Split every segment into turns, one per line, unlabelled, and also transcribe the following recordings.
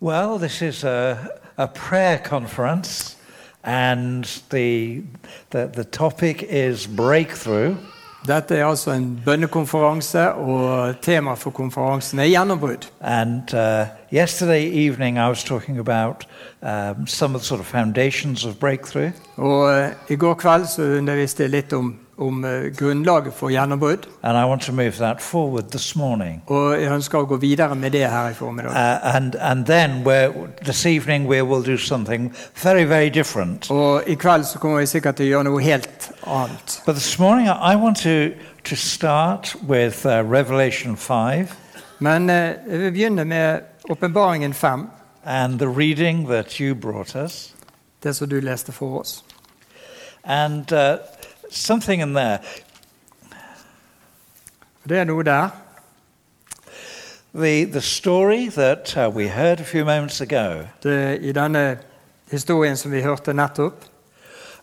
Well, this is a, a prayer conference, and the, the, the topic is breakthrough.
Dette er altså en bønnekonferanse, og tema for konferansen er gjennombrudd.
And uh, yesterday evening, I was talking about um, some of the sort of foundations of breakthrough.
Og eh, I går kveld så underviste jeg litt om, om eh, grunnlaget for gjennombrudd,
And I want to move that forward this morning.
og jeg ønsker å gå videre med det her i formiddag.
Uh, and, and then we're, this evening, we will do something very, very different.
Og I kveld så kommer vi sikkert til å gjøre noe helt annet.
But this morning, I I want to, to start with uh, Revelation 5
Men eh, jeg vil begynne med Åpenbaringen 5,
and the reading that you brought us.
det som du leste for oss.
And uh, something in there.
Det er noe der.
The, the story that uh, we heard a few moments ago,
Det, I denne historien som vi hørte nettopp,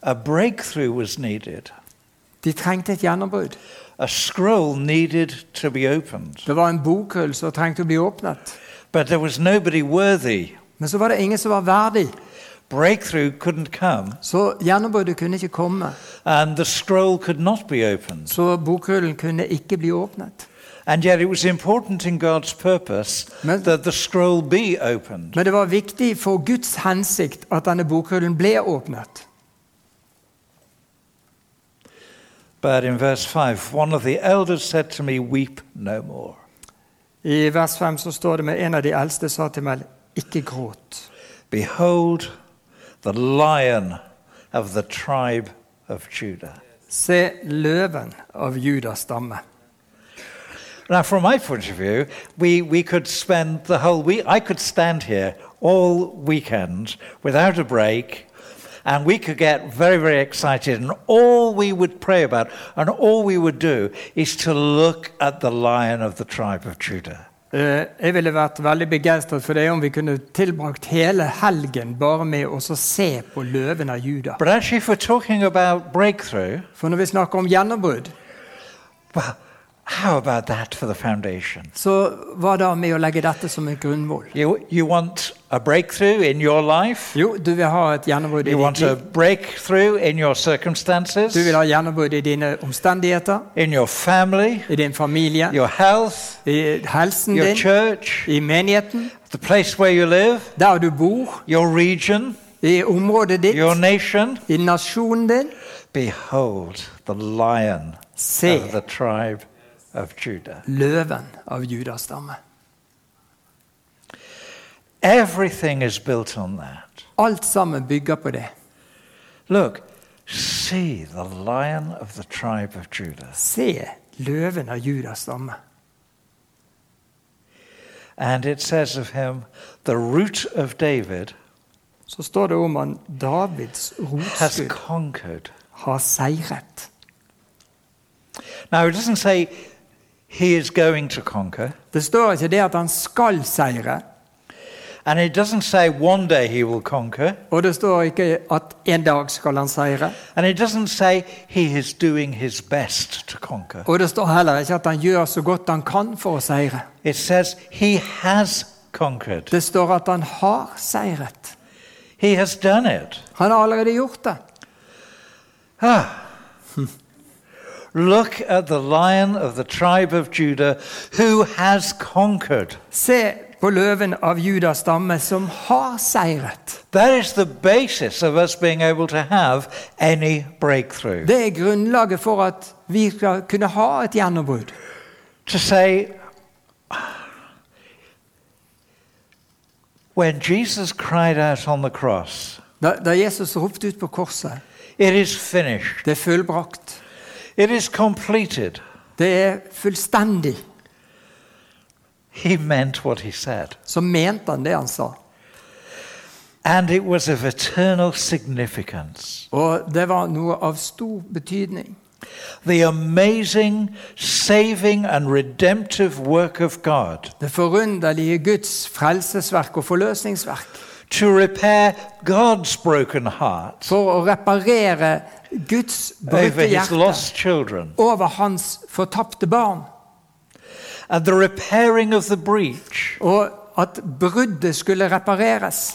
a breakthrough was needed.
de trengte et gjennombrudd.
A scroll needed to be opened.
Det var en bokhull som trengte å bli åpnet.
But there was nobody worthy.
Men så var det ingen som var verdig,
Breakthrough couldn't come,
så gjennombruddet kunne ikke komme.
and the scroll could not be opened.
Så bokrullen kunne ikke bli åpnet.
And yet it was important in God's purpose
Men-
that the scroll be opened.
Men det var viktig for Guds hensikt at denne bokrullen ble åpnet.
But in verse 5, one of the elders said to me, Weep no more.
I vers 5 så står det med en av de eldste sa til meg, ikke gråt.
Behold, the lion of the tribe of Judah.
Se løven av Judas stamme.
Now, from my point of view, we, we could spend the whole week, I could stand here all weekend without a break, and we could get very, very excited. And all we would pray about and all we would do is to look at the lion of the tribe of Judah.
Eh, Jeg ville vært veldig begeistret for det om vi kunne tilbrakt hele helgen bare med å så se på løven av Juda.
But actually, if we're talking about breakthrough,
For når vi snakker om gjennombrudd,
well, how about that for the foundation?
så hva da med å legge dette som en grunnmål?
You, you want a breakthrough in your life?
Jo, du vil ha et gjennombrudd i
You
ditt
want a
liv.
breakthrough in your circumstances?
Du vil ha gjennombrudd i dine omstendigheter,
In your family?
i din familie,
your health,
i helsen
your
din,
church,
i menigheten,
the place where you live,
der du bor,
your region,
i området
your
ditt,
nation.
i nasjonen din.
Behold the lion
Se
of the tribe of Judah.
løven av Judas stamme.
Everything is built on that.
Alt sammen bygger på det.
Look, see the lion of the tribe of Judah.
Se løven av Judas stamme.
And it says of him, the root of David
Så står det om han Davids
has
rotskudd
conquered.
har seiret.
Now, it doesn't say he is going to conquer,
Det står ikke det at han skal seire,
and it doesn't say one day he will conquer.
og det står ikke at en dag skal han seire.
And it doesn't say he is doing his best to conquer.
Og det står heller ikke at han gjør så godt han kan for å seire.
It says he has conquered.
Det står at han har seiret.
He has done it.
Han har allerede gjort det.
Ah. Look at the lion of the tribe of Judah who has conquered.
Se på løven av Judas stamme som har seiret.
That is the basis of us being able to have any breakthrough.
Det er grunnlaget for at vi skal kunne ha et gjennombrudd.
To say, when Jesus cried out on the cross,
Da, da Jesus ropte ut på korset
it is finished.
Det er fullbrakt.
It is completed.
Det er fullstendig.
He meant what he said.
Så mente han det han sa.
And it was of eternal significance.
Og det var noe av stor betydning.
The amazing, saving, and redemptive work of God
Det forunderlige Guds frelsesverk og forløsningsverk.
to repair God's broken heart
For å reparere Guds
over
brutte
his
hjerte
lost children,
over hans fortapte barn.
and the repairing of the breach
Og at bruddet skulle repareres,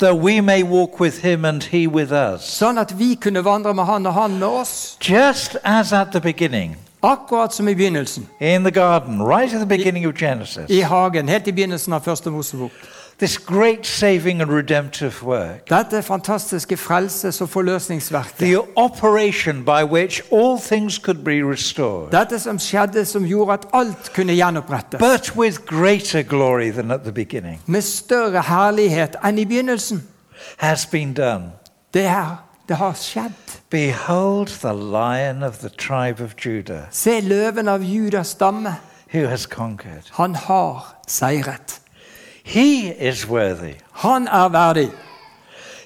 that we may walk with him and he with us.
sånn at vi kunne vandre med han og han med oss.
Just as at the beginning,
Akkurat som i begynnelsen,
in the garden, right at the beginning of Genesis,
i hagen, helt i begynnelsen av første Mosebok.
this great saving and redemptive work,
Dette fantastiske frelses- og forløsningsverket.
the operation by which all things could be restored,
Dette som skjedde som gjorde at alt kunne gjenopprettes.
but with greater glory than at the beginning,
Med større herlighet enn i begynnelsen.
has been done.
Det her, det har skjedd.
Behold the lion of the tribe of Judah
Se løven av Judas stamme.
who has conquered.
Han har seiret.
He is worthy.
Han er verdig.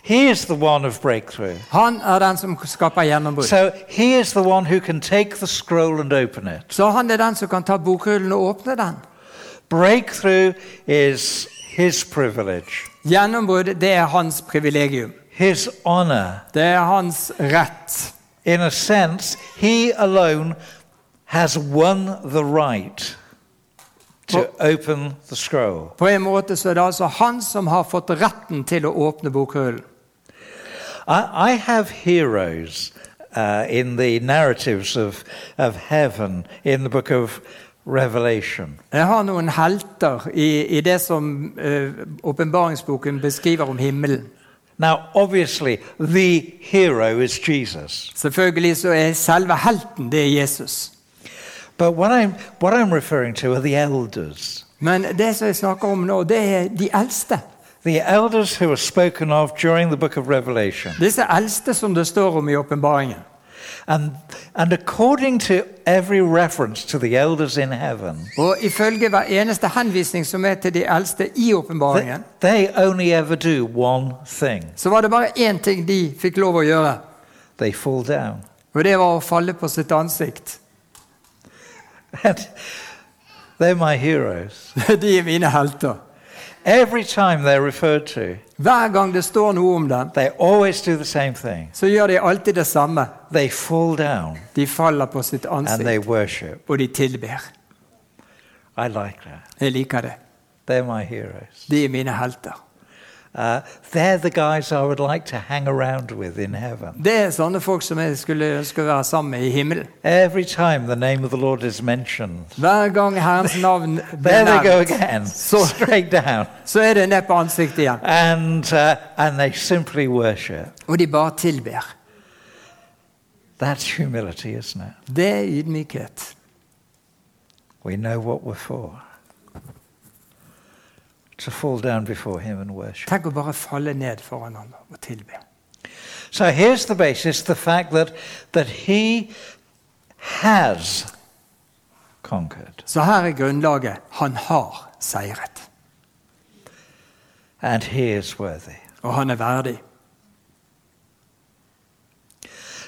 He is the one of breakthrough.
Han er den som skaper gjennombrudd.
So he is the one who can take the scroll and open it.
Så han er den som kan ta bokrullen og åpne den.
Breakthrough is his privilege,
Gjennombrudd, det er hans privilegium.
his honor.
Det er hans rett.
In a sense, he alone has won the right to
Well-
open the scroll.
På en måte så er det altså han som har fått retten til å åpne bokrullen.
I, I have heroes uh, in the narratives of, of heaven in the book of Revelation.
Jeg har noen helter i, i det som eh, åpenbaringsboken beskriver om himmelen.
Now, obviously, the hero is Jesus.
Selvfølgelig så er selve helten det er Jesus.
But what I'm, what I'm referring to are the elders.
Men det som jeg snakker om nå, det er de eldste.
The elders who are spoken of during the book of Revelation.
Disse eldste som det står om i åpenbaringen.
And, and according to every reference to the elders in heaven,
Og ifølge hver eneste henvisning som er til de eldste i
th-
åpenbaringen,
they only ever do one thing
så var det bare én ting de fikk lov å gjøre.
they fall down.
Og det var å falle på sitt ansikt.
And they're my heroes.
De er mine helter.
Every time they're referred to,
Hver gang det står noe om dem,
they always do the same thing
så gjør de alltid det samme.
they fall down
De faller på sitt
and
ansikt.
they worship.
og de tilber.
I like that.
Jeg liker det.
They're my heroes.
De er mine helter.
Uh, they're the guys I would like to hang around with in heaven.
Det er sånne folk som jeg skulle ønske å være sammen med i himmelen.
Every time the name of the Lord is mentioned,
Hver gang Herrens navn blir
there they go
nevnt,
again,
So-
straight down.
så er det ned på ansiktet igjen.
And, uh, and they simply worship.
Og de bare tilber.
That's humility, isn't it?
Det er ydmykhet.
We know what we're for. To fall down before Him and worship.
Tenk å bare falle ned foran ham og tilbe.
So here's the basis the fact that, that He has conquered,
Så her er grunnlaget. Han har seiret.
and He is worthy.
Og han er verdig.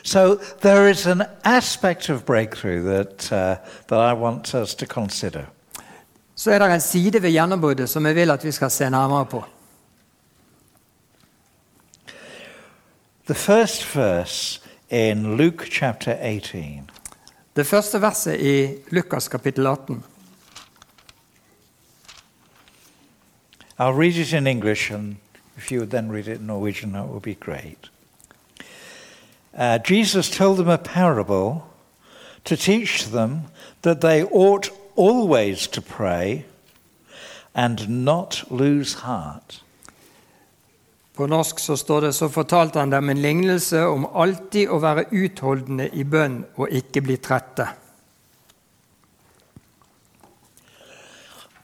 So there is an aspect of breakthrough that, uh, that I want us to consider.
Så er det en side ved gjennombruddet som jeg vil at vi skal se nærmere på.
The first verse in Luke chapter 18
Det første verset i Lukas kapittel 18.
I'll read it in English, and if you would then read it in Norwegian, that would be great. Uh, Jesus told them a parable to teach them that they ought always to pray and not lose heart.
På norsk så står det så fortalte han dem en lignelse om alltid å være utholdende i bønn og ikke bli trette.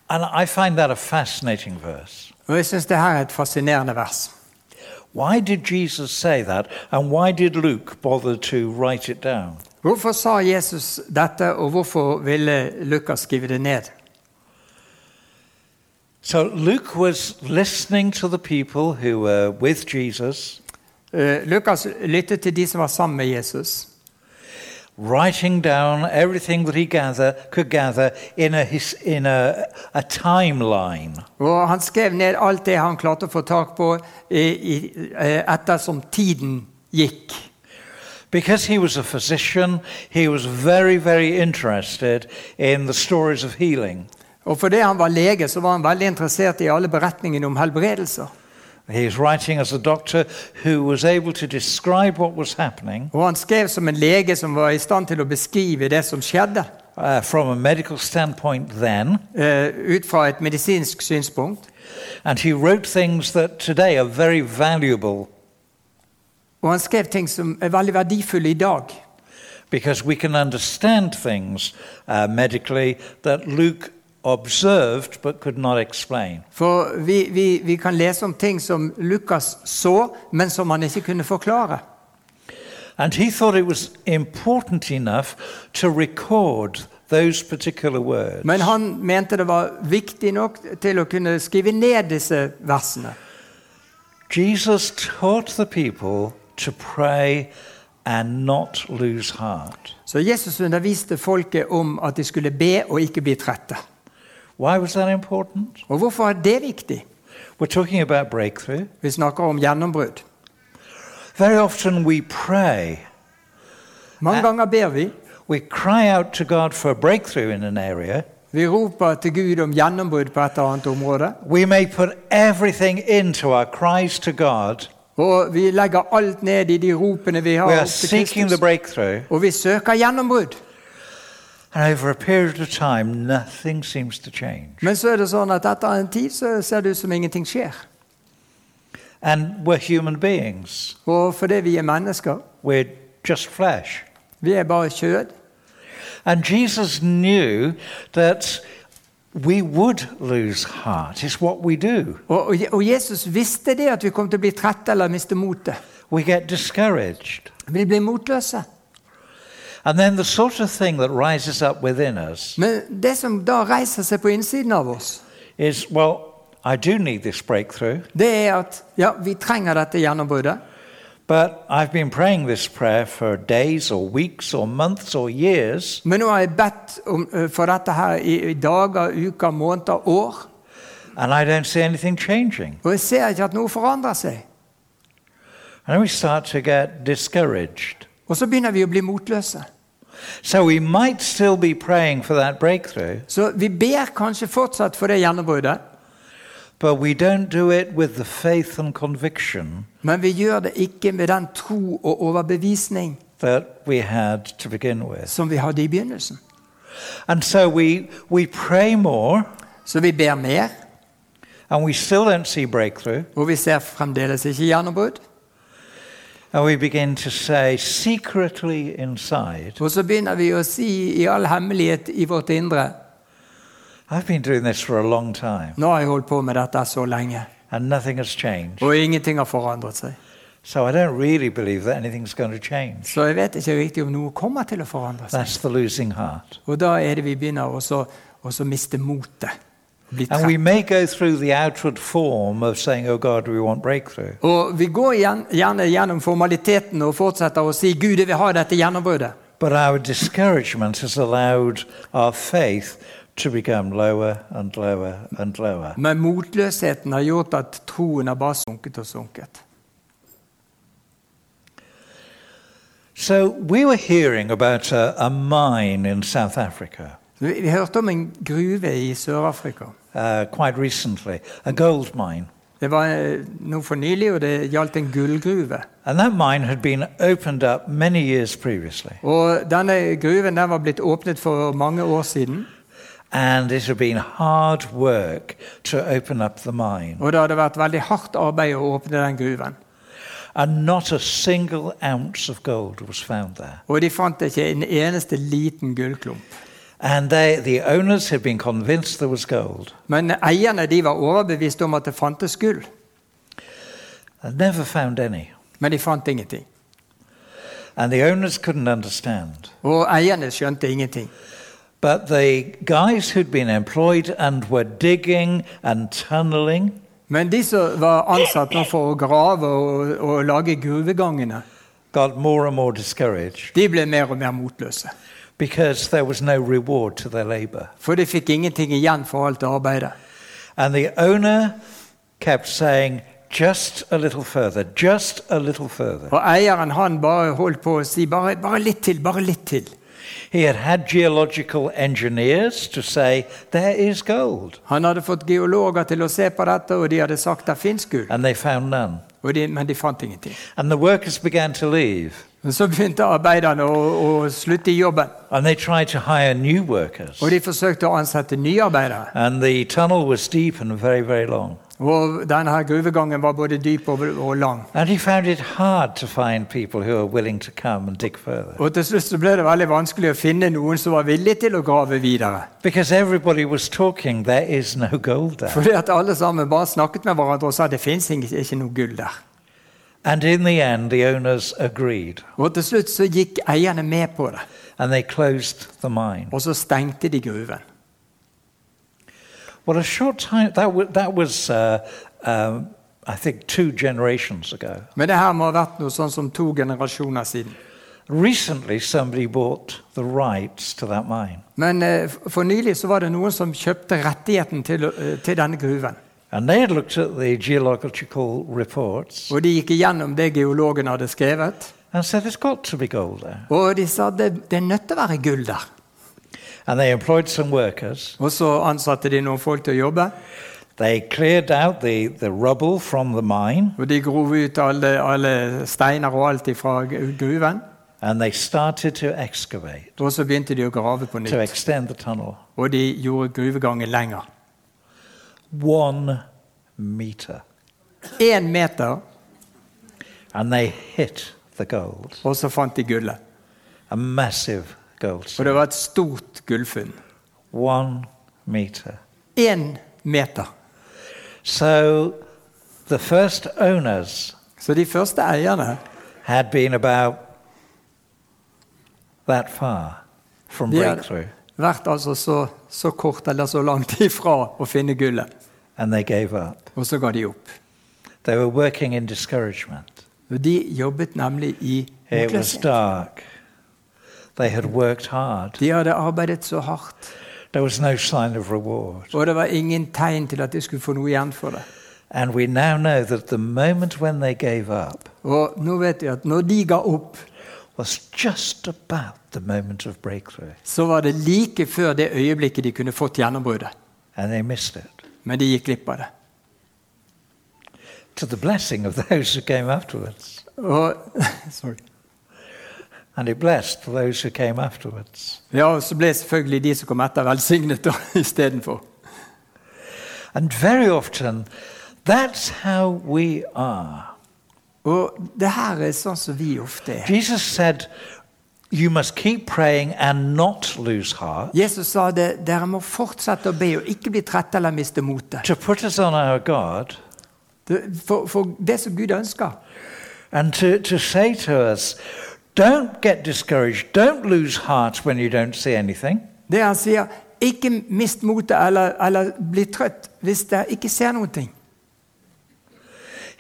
And I find that a fascinating verse.
Og Jeg syns det her er et fascinerende vers.
Why did Jesus say that, and why did Luke bother to write it down?
Hvorfor sa Jesus dette, og hvorfor ville Lukas skrive det ned?
So Luke was listening to the people who were with Jesus,
Eh, Lukas lyttet til de som var sammen med Jesus,
writing down everything that he gather could gather in a his, in a, a timeline.
og han skrev ned alt det han klarte å få tak på i, i, eh, ettersom tiden gikk.
Because he was a physician, he was very very interested in the stories of healing.
Og fordi han var lege, så var han veldig interessert i alle beretningene om helbredelser.
He's writing as a doctor who was able to describe what was happening
Og han skrev som en lege som var i stand til å beskrive det som skjedde,
uh, from a medical standpoint then,
eh, ut fra et medisinsk synspunkt.
and he wrote things that today are very valuable
Og han skrev ting som er veldig verdifulle i dag.
because we can understand things uh, medically that Luke observed but could not explain.
For vi, vi, vi kan lese om ting som Lukas så, men som han ikke kunne forklare.
And he thought it was important enough to record those particular words.
Men han mente det var viktig nok til å kunne skrive ned disse versene.
Jesus taught the people to pray and not lose heart.
Så Jesus underviste folket om at de skulle be og ikke bli trette.
Why was that important?
Og hvorfor er det viktig?
We're talking about breakthrough.
Vi snakker om gjennombrudd.
Very often we pray,
Mange ganger ber vi.
we cry out to God for a breakthrough in an area.
Vi roper til Gud om gjennombrudd på et eller annet område.
We may put everything into our cries to God.
Og vi legger alt ned i de ropene vi har
We are
opp til
seeking the
Kristus.
breakthrough.
Og vi søker gjennombrudd.
And over a period of time, nothing seems to change.
Men så er det sånn at etter en tid så ser det ut som ingenting skjer.
And we're human beings,
Og fordi vi er mennesker,
we're just flesh.
vi er bare kjød.
And Jesus knew that we would lose heart. It's what we do.
Og, og, og Jesus visste det at vi kom til å bli trette eller miste motet.
We get discouraged.
Vi blir motløse.
And then the sort of thing that rises up within us
Men det som da reiser seg på innsiden av oss,
is, well, I do need this breakthrough,
det er at ja, vi trenger dette gjennombruddet.
but I've been praying this prayer for days or weeks or months or years,
Men nå har jeg bedt om, eh, for dette her i, i dager, uker, måneder, år.
and I don't see anything changing.
Og jeg ser ikke at noe forandrer seg.
And then we start to get discouraged.
Og så begynner vi å bli motløse.
So we might still be praying for that breakthrough,
Så vi ber kanskje fortsatt for det gjennombruddet,
but we don't do it with the faith and conviction
men vi gjør det ikke med den tro og overbevisning
that we had to begin with.
som vi hadde i begynnelsen.
And so we, we pray more
Så vi ber mer,
and we still don't see breakthrough.
og vi ser fremdeles ikke gjennombrudd.
And we begin to say secretly inside,
Og så begynner vi å si i all hemmelighet i vårt indre
I've been doing this for a long time
Nå har jeg holdt på med dette så lenge,
and nothing has changed.
og ingenting har forandret seg.
So I don't really believe that anything's going to change.
Så jeg vet ikke riktig om noe kommer til å forandre seg.
That's the losing heart.
Og da er det vi begynner å så- å så miste motet. Bli
And
trett.
we may go through the outward form of saying, Oh God, we want breakthrough.
Og vi går igjen- gjerne gjennom formaliteten og fortsetter å si 'Gud, jeg vil ha dette gjennombruddet'.
But our discouragement has allowed our faith to become lower and lower and lower.
Men motløsheten har gjort at troen har bare sunket og sunket.
So we were hearing about a, a mine in South Africa
Vi, vi hørte om en gruve i Sør-Afrika.
uh, quite recently, a gold mine.
Det var eh, noe for nylig, og det gjaldt en gullgruve.
And that mine had been opened up many years previously.
Og denne gruven den var blitt åpnet for mange år siden.
And it had been hard work to open up the mine.
Og det hadde vært veldig hardt arbeid å åpne den gruven.
And not a single ounce of gold was found there.
Og de fant ikke en eneste liten gullklump.
And they, the owners had been convinced there was gold.
Men eierne de var overbevist om at det fantes gull,
They never found any.
men de fant ingenting.
And the owners couldn't understand.
Og eierne skjønte ingenting.
But the guys who'd been employed and were digging and tunneling,
Men de som var ansatt nå for å grave og, og lage gruvegangene,
got more and more discouraged
de ble mer og mer motløse.
because there was no reward to their labor.
For de fikk ingenting igjen for alt arbeidet.
And the owner kept saying, just a little further, just a little further.
Og eieren han bare holdt på å si bare, bare litt til, bare litt til.
He had had geological engineers to say, there is gold,
Han hadde fått geologer til å se på dette, og de hadde sagt det fins gull.
and they found none.
Og de, men de fant ingenting.
And the workers began to leave,
Men så begynte arbeiderne å, å slutte i jobben.
and they tried to hire new workers.
Og de forsøkte å ansette nye arbeidere.
And the tunnel was deep and very, very long.
Og denne her gruvegangen var både dyp og, og lang.
And he found it hard to find people who are willing to come and dig further
Og til slutt så ble det veldig vanskelig å finne noen som var villig til å grave videre.
because everybody was talking, there is no gold there.
Fordi at alle sammen bare snakket med hverandre og sa det fins ikke, ikke noe gull der.
And in the end, the owners agreed
Og til slutt så gikk eierne med på det,
and they closed the mine.
og så stengte de gruven.
Well, a short time, that, w- that was, uh, um, I think, two generations ago.
Men det her må ha vært noe sånn som to generasjoner siden.
Recently, somebody bought the rights to that mine.
Men eh, for nylig så var det noen som kjøpte rettigheten til, å- eh, til denne gruven.
And they had looked at the geological reports
Og de gikk igjennom det geologen hadde skrevet.
and said, there's got to be gold there.
Og de sa det, det er nødt til å være gull der.
And they employed some workers.
Og så ansatte de noen folk til å jobbe.
They cleared out the, the rubble from the mine
Og de grov ut alle, alle steiner og alt fra gruven.
and they started to excavate,
Og så begynte de å grave på
to
nytt.
extend the tunnel.
Og de gjorde gruvegangen lenger.
One meter.
Én meter,
And they hit the gold,
og så fant de gullet.
a massive gold.
Og det var et stort gullfunn.
One meter.
Én meter.
So the first owners
Så de første eierne
had been about that far from
Yeah.
breakthrough,
vært altså så, så kort eller så langt ifra å finne gullet.
and they gave up.
Og så ga de opp.
They were working in discouragement.
Og de jobbet nemlig i
It was
motløshet.
dark. They had worked hard.
De hadde arbeidet så hardt,
There was no sign of reward.
og det var ingen tegn til at de skulle få noe igjen for det.
And we now know that the moment when they gave up
Og nå vet vi at når de ga opp,
was just about the moment of breakthrough,
så var det like før det øyeblikket de kunne fått gjennombruddet.
and they missed it.
Men de gikk glipp av det.
To the blessing of those who came afterwards.
Og, sorry.
And it blessed those who came afterwards.
Ja, og så ble selvfølgelig de som kom etter, velsignet da, istedenfor.
And very often, that's how we are.
Og det her er sånn som vi ofte er.
Jesus said, You must keep praying and not lose heart.
Jesus sa det, dere må fortsette å be og ikke bli trette eller miste motet.
To put us on our guard
Det- For, for det som Gud ønsker,
and to, to say to us, don't get discouraged, don't lose heart when you don't see anything.
det han sier, ikke mist motet eller, eller bli trøtt hvis dere ikke ser noen ting.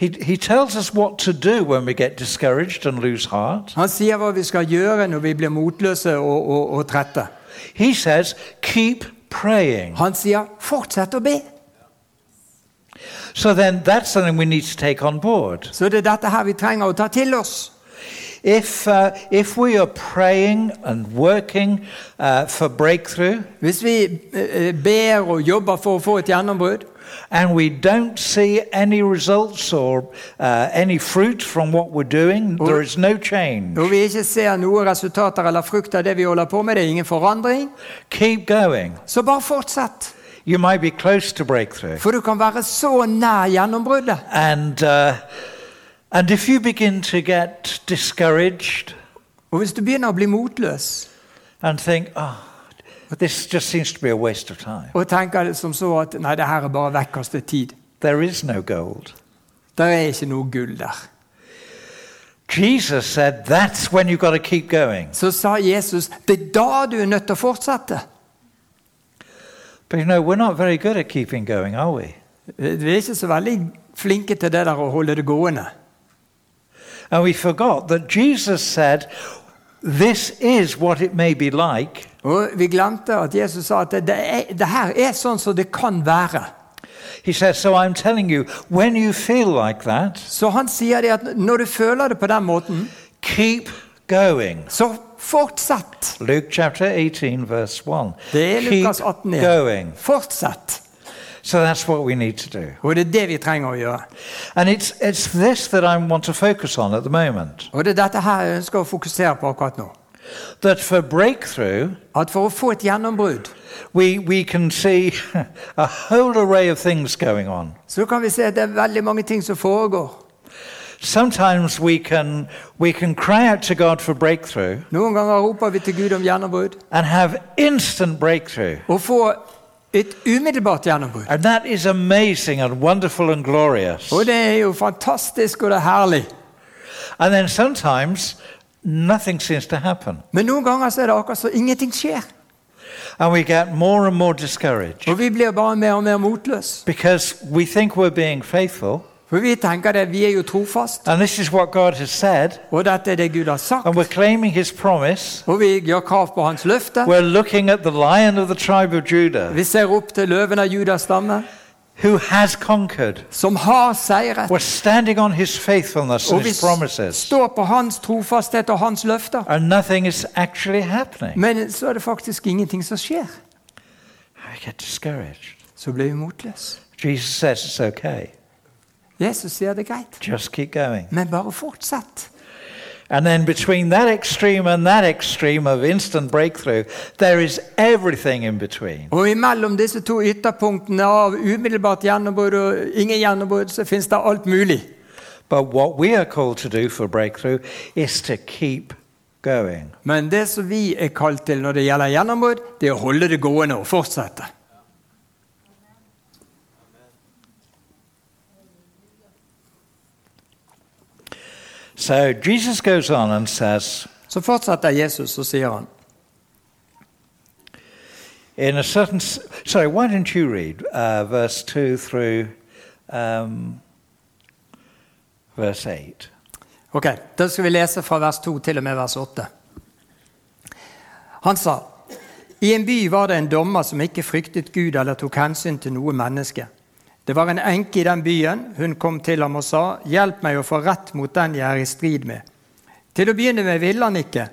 He, he tells us what to do when we get discouraged and lose heart.
Han sier hva vi skal gjøre når vi blir motløse og, og, og trette.
He says, keep praying.
Han sier 'fortsett å be'.
So then that's something we need to take on board.
Så det er dette her vi trenger å ta til oss.
If, uh, if we are praying and working uh, for breakthrough
Hvis vi eh, eh, ber og jobber for å få et gjennombrudd,
and we don't see any results or uh, any fruit from what we're doing, there is no change.
og vi ikke ser noen resultater eller frukt av det vi holder på med, det er ingen forandring,
Keep going.
så bare fortsett.
You might be close to breakthrough.
For du kan være så nær gjennombruddet.
And, uh, and if you begin to get discouraged
Og hvis du begynner å bli motløs
and think, oh, this just seems to be a waste of time,
og tenker som så at 'nei, det her er bare vekkastet tid',
there is no gold.
der er ikke noe gull der.
Jesus said that's when you've got to keep going.
Så sa Jesus 'det er da du er nødt til å fortsette'.
But you know, we're not very good at keeping going, are we?
Eh, Vi er ikke så veldig flinke til det der å holde det gående.
And we forgot that Jesus said, this is what it may be like,
Og vi glemte at Jesus sa at det, det, er, det her er sånn som det kan være.
He says, So I'm telling you, when you feel like that,
Så han sier det at når du føler det på den måten,
keep going.
så fortsett.
Luke chapter 18, verse 1.
Det er
Keep
Lukas 18. igjen.
going.
Fortsett.
So that's what we need to do.
Og det er det vi trenger å gjøre.
And it's, it's this that I want to focus on at the moment.
Og det er dette her jeg ønsker å fokusere på akkurat nå.
That for breakthrough,
At for å få et gjennombrudd,
we, we can see a whole array of things going on.
så kan vi se at det er veldig mange ting som foregår.
Sometimes we can, we can cry out to God for breakthrough
Noen ganger roper vi til Gud om gjennombrudd,
and have instant breakthrough.
og får et umiddelbart gjennombrudd.
And that is amazing and wonderful and glorious.
Og det er jo fantastisk, og det er herlig.
And then sometimes nothing seems to happen.
Men noen ganger så er det akkurat så ingenting skjer.
And we get more and more discouraged
Og vi blir bare mer og mer motløse.
because we think we're being faithful.
For vi tenker det, vi er jo trofast,
And this is what God has said.
og dette er det Gud har
And we're
sagt.
claiming his promise.
Og vi gjør krav på hans løfte.
We're looking at the lion of the tribe of Judah
Vi ser opp til løven av Judas stamme,
who has conquered.
som har seiret.
We're standing on his faithfulness
Og
and
vi
his promises.
står på hans trofasthet og hans løfter.
And nothing is actually happening.
Men så er det faktisk ingenting som skjer.
I get discouraged.
Så blir vi motløse.
Jesus says it's okay.
Jesus sier det er greit,
Just keep going.
men bare fortsett.
And then between that extreme and that extreme of instant breakthrough, there is everything in between.
Og imellom disse to ytterpunktene av umiddelbart gjennombrudd og ingen gjennombrudd, så fins det alt mulig.
But what we are called to do for breakthrough is to keep going.
Men det som vi er kalt til når det gjelder gjennombrudd, det er å holde det gående og fortsette.
So Jesus goes on and says,
Så fortsetter Jesus, og sier han
in a certain. s- Sorry, why don't you read uh, verse 2 through um, verse 8?
Ok, da skal vi lese fra vers 2 til og med vers 8. Han sa, I en by var det en dommer som ikke fryktet Gud eller tok hensyn til noe menneske. Det var en enke i den byen. Hun kom til ham og sa, Hjelp meg å få rett mot den jeg er i strid med. Til å begynne med ville han ikke,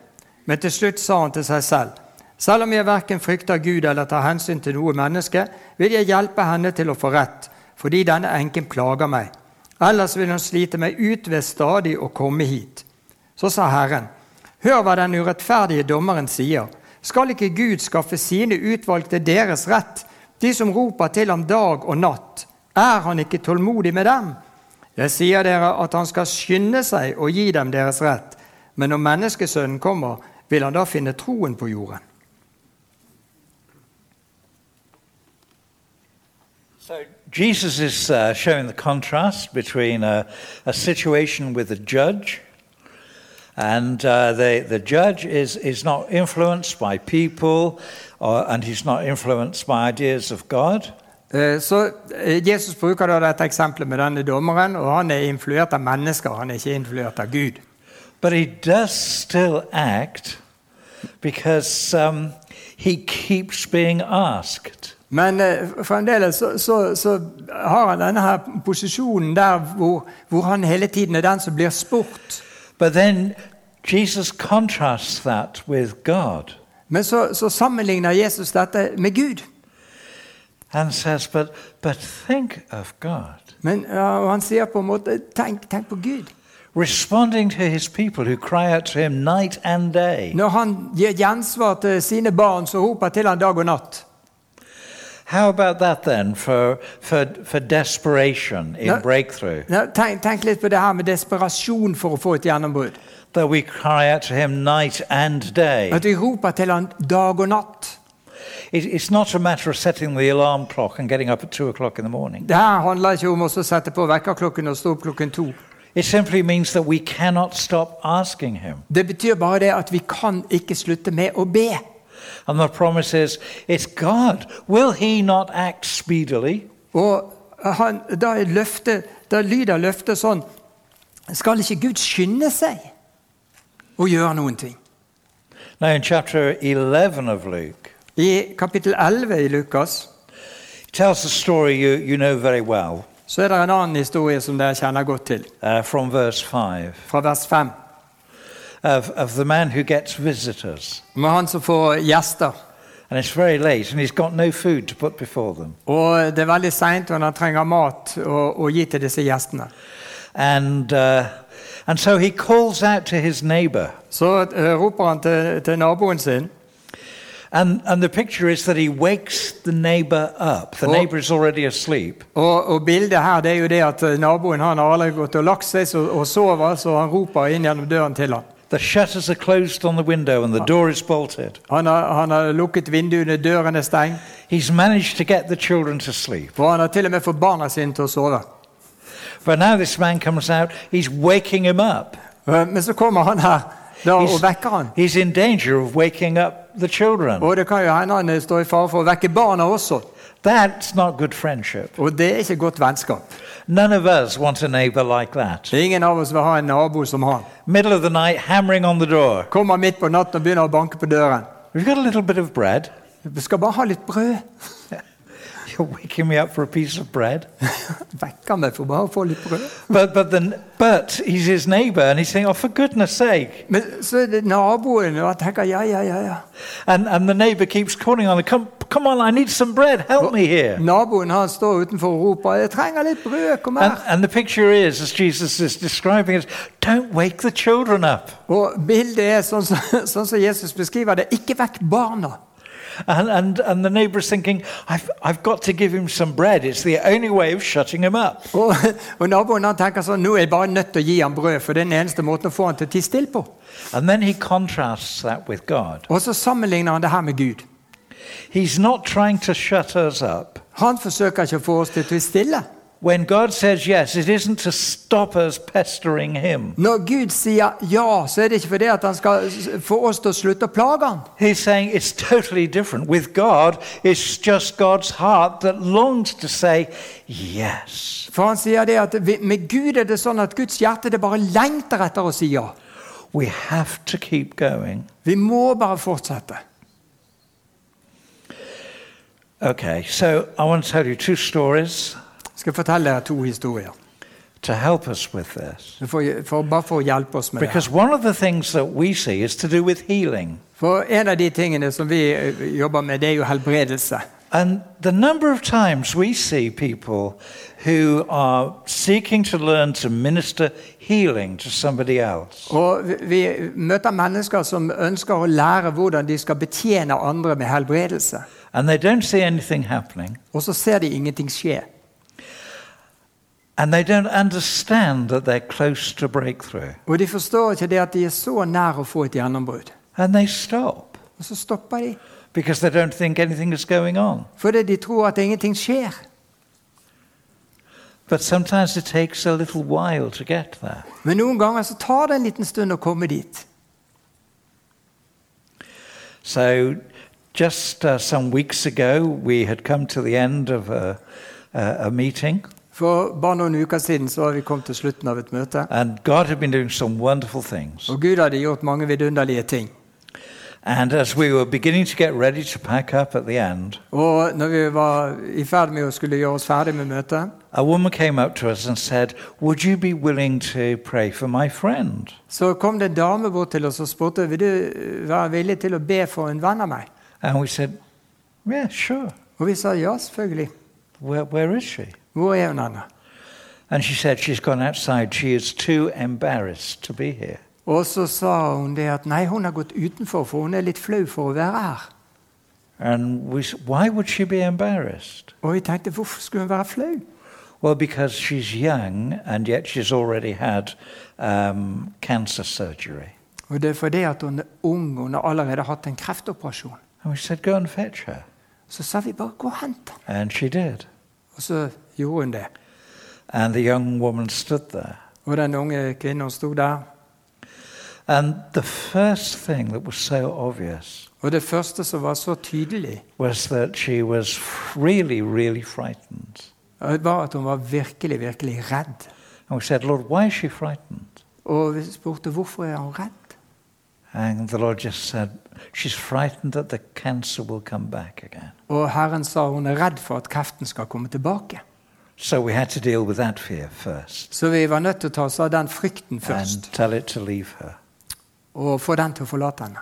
men til slutt sa han til seg selv, Selv om jeg verken frykter Gud eller tar hensyn til noe menneske, vil jeg hjelpe henne til å få rett, fordi denne enken plager meg. Ellers vil hun slite meg ut ved stadig å komme hit. Så sa Herren, hør hva den urettferdige dommeren sier. Skal ikke Gud skaffe sine utvalgte deres rett, de som roper til ham dag og natt? Er han ikke tålmodig med dem? Jeg sier dere at han skal skynde seg og gi dem deres rett, men når menneskesønnen kommer, vil han da finne troen på jorden.
Jesus is uh, showing the contrast between a, a situation with a judge, and uh, the, the judge is, is not influenced by people, or, and he's not influenced by ideas of God.
Eh, Så eh, Jesus bruker da dette eksempelet med denne dommeren, og han er influert av mennesker, han er ikke influert av Gud.
But he does still act because um, he keeps being asked.
Men eh, fremdeles så, så, så har han denne her posisjonen der hvor, hvor han hele tiden er den som blir spurt.
But then Jesus contrasts that with God
Men så, så sammenligner Jesus dette med Gud.
and says, But, but think of God.
Men, ja, og han sier på en måte tenk, tenk på Gud.
responding to his people who cry out to him night and day.
Når han gir gjensvar til sine barn, så roper til han dag og natt.
How about that then for, for, for desperation in
No.
breakthrough?
Ja, Tenk, tenk litt på det her med desperasjon for å få et gjennombrudd.
That we cry out to him night and day.
At vi roper til han dag og natt.
It, it's not a matter of setting the alarm clock and getting up at two o'clock in the morning.
Det her handler ikke om å så sette på vekkerklokken og stå opp klokken to.
It simply means that we cannot stop asking him.
Det betyr bare det at vi kan ikke slutte med å be.
And the promise is, it's God. Will he not act speedily?
Og han, da, er løftet, da lyder løftet sånn Skal ikke Gud skynde seg og gjøre noen ting?
Now, in chapter 11 of Luke,
I kapittel 11 i Lukas
it tells a story you, you know very well
så er det en annen historie som dere kjenner godt til,
uh, from verse 5.
fra vers 5.
Uh, of, of the man who gets visitors.
med han som får gjester.
And it's very late, and he's got no food to put before them.
Og det er veldig seint, og han trenger mat å, å gi til disse gjestene.
And, uh, and so he calls out to his neighbor.
Så eh, roper han til, til naboen sin.
And, and the picture is that he wakes the neighbor up. The
Oh.
neighbor is already asleep.
Og, og bildet her det er jo det at eh, naboen han har allerede gått og lagt seg så, og sover, så han roper inn gjennom døren til han.
The shutters are closed on the window, and the door is bolted.
Han har, han har lukket vinduene, døren er stengt,
He's managed to get the children to sleep.
og han har til og med fått barna sine til å sove.
But now this man comes out, he's waking him up.
Eh, Men så kommer han her da, og
He's,
vekker han.
he's in danger of waking up the children.
Og det kan jo hende han eh, står i fare for å vekke barna også.
That's not good friendship.
Og det er ikke godt vennskap.
None of us want a neighbor like that.
Det er ingen av oss vil ha en nabo som han.
Middle of the night, hammering on the door.
Kommer midt på natten og begynner å banke på døren.
We've got a little bit of bread.
Du skal bare ha litt brød.
You're waking me up for a piece of bread.
Vekker meg for bare å få litt brød.
But, but, the, but he's his neighbor, and he's saying, Oh, for goodness sake.
Men så er det naboen, og jeg tenker ja, ja, ja. ja.
And, and the neighbor keeps calling on him, come, come on, I need some bread. Help me here.
Naboen han står utenfor og roper 'Jeg trenger litt brød, kom
And,
her'.
and the picture is, as Jesus is describing it, don't wake the children up.
Og bildet er sånn som, sånn som Jesus beskriver det. Ikke vekk barna.
And, and, and the neighbor's thinking, I've, I've got to give him some bread. It's the only way of shutting him up.
Og, og naboen han tenker sånn 'Nå er jeg bare nødt til å gi ham brød', for det er den eneste måten å få han til å tie stille på.
And then he contrasts that with God.
Og så sammenligner han det her med Gud.
He's not trying to shut us up.
Han forsøker ikke å få oss til å tie stille.
When God says yes, it isn't to stop us pestering him.
Når Gud sier ja, så er det ikke fordi at han skal s- få oss til å slutte å plage han.
He's saying it's totally different. With God, it's just God's heart that longs to say yes.
For han sier det at vi, med Gud er det sånn at Guds hjerte det bare lengter etter å si ja.
We have to keep going.
Vi må bare fortsette.
Okay, so I want to tell you two stories
Jeg skal fortelle dere to historier.
to help us with this.
For, for, bare for å hjelpe oss med det.
Because one of the things that we see is to do with healing.
For en av de tingene som vi eh, jobber med, det er jo helbredelse.
And the number of times we see people who are seeking to learn to minister healing to somebody else.
Og vi, vi møter mennesker som ønsker å lære hvordan de skal betjene andre med helbredelse.
And they don't see anything happening.
Og så ser de ingenting skje.
And they don't understand that they're close to breakthrough.
Og de forstår ikke det at de er så nær å få et gjennombrudd.
And they stop
Og så stopper de.
because they don't think anything is going on.
Fordi de tror at ingenting skjer.
But sometimes it takes a little while to get there.
Men noen ganger så tar det en liten stund å komme dit.
So, just uh, some weeks ago, we had come to the end of a, a, a meeting,
For bare noen uker siden så har vi kommet til slutten av et møte.
and God had been doing some wonderful things.
Og Gud hadde gjort mange vidunderlige ting.
And as we were beginning to get ready to pack up at the end,
Og når vi var i ferd med å skulle gjøre oss ferdig med møtet,
a woman came up to us and said, Would you be willing to pray for my friend?
så kom det en dame bort til oss og spurte vil du være villig til å be for en venn av meg.
And we said, Yeah, sure.
Og vi sa ja, selvfølgelig.
Where, where is she?
Hvor er hun henne?
And she said, She's gone outside. She is too embarrassed to be here.
Og så sa hun det at nei, hun har gått utenfor, for hun er litt flau for å være her.
And we said, Why would she be embarrassed?
Og vi tenkte hvorfor skulle hun være flau?
Well, because she's young and yet she's already had um, cancer surgery.
Og det er fordi at hun er ung, og hun har allerede hatt en kreftoperasjon.
And we said, Go and fetch her.
Så sa vi bare 'gå og hent den'.
And she did.
Og så gjorde hun det.
And the young woman stood there.
Og den unge kvinnen sto der.
And the first thing that was so obvious
Og det første som var så tydelig,
was that she was really, really frightened.
var at hun var virkelig, virkelig redd.
And we said, Lord, why is she frightened?
Og vi spurte hvorfor er hun redd.
And the Lord just said, She's frightened that the cancer will come back again.
Og Herren sa hun er redd for at kreften skal komme tilbake.
So we had to deal with that fear first
Så vi var nødt til å ta oss av den frykten
and
først.
tell it to leave her.
og få den til å forlate henne.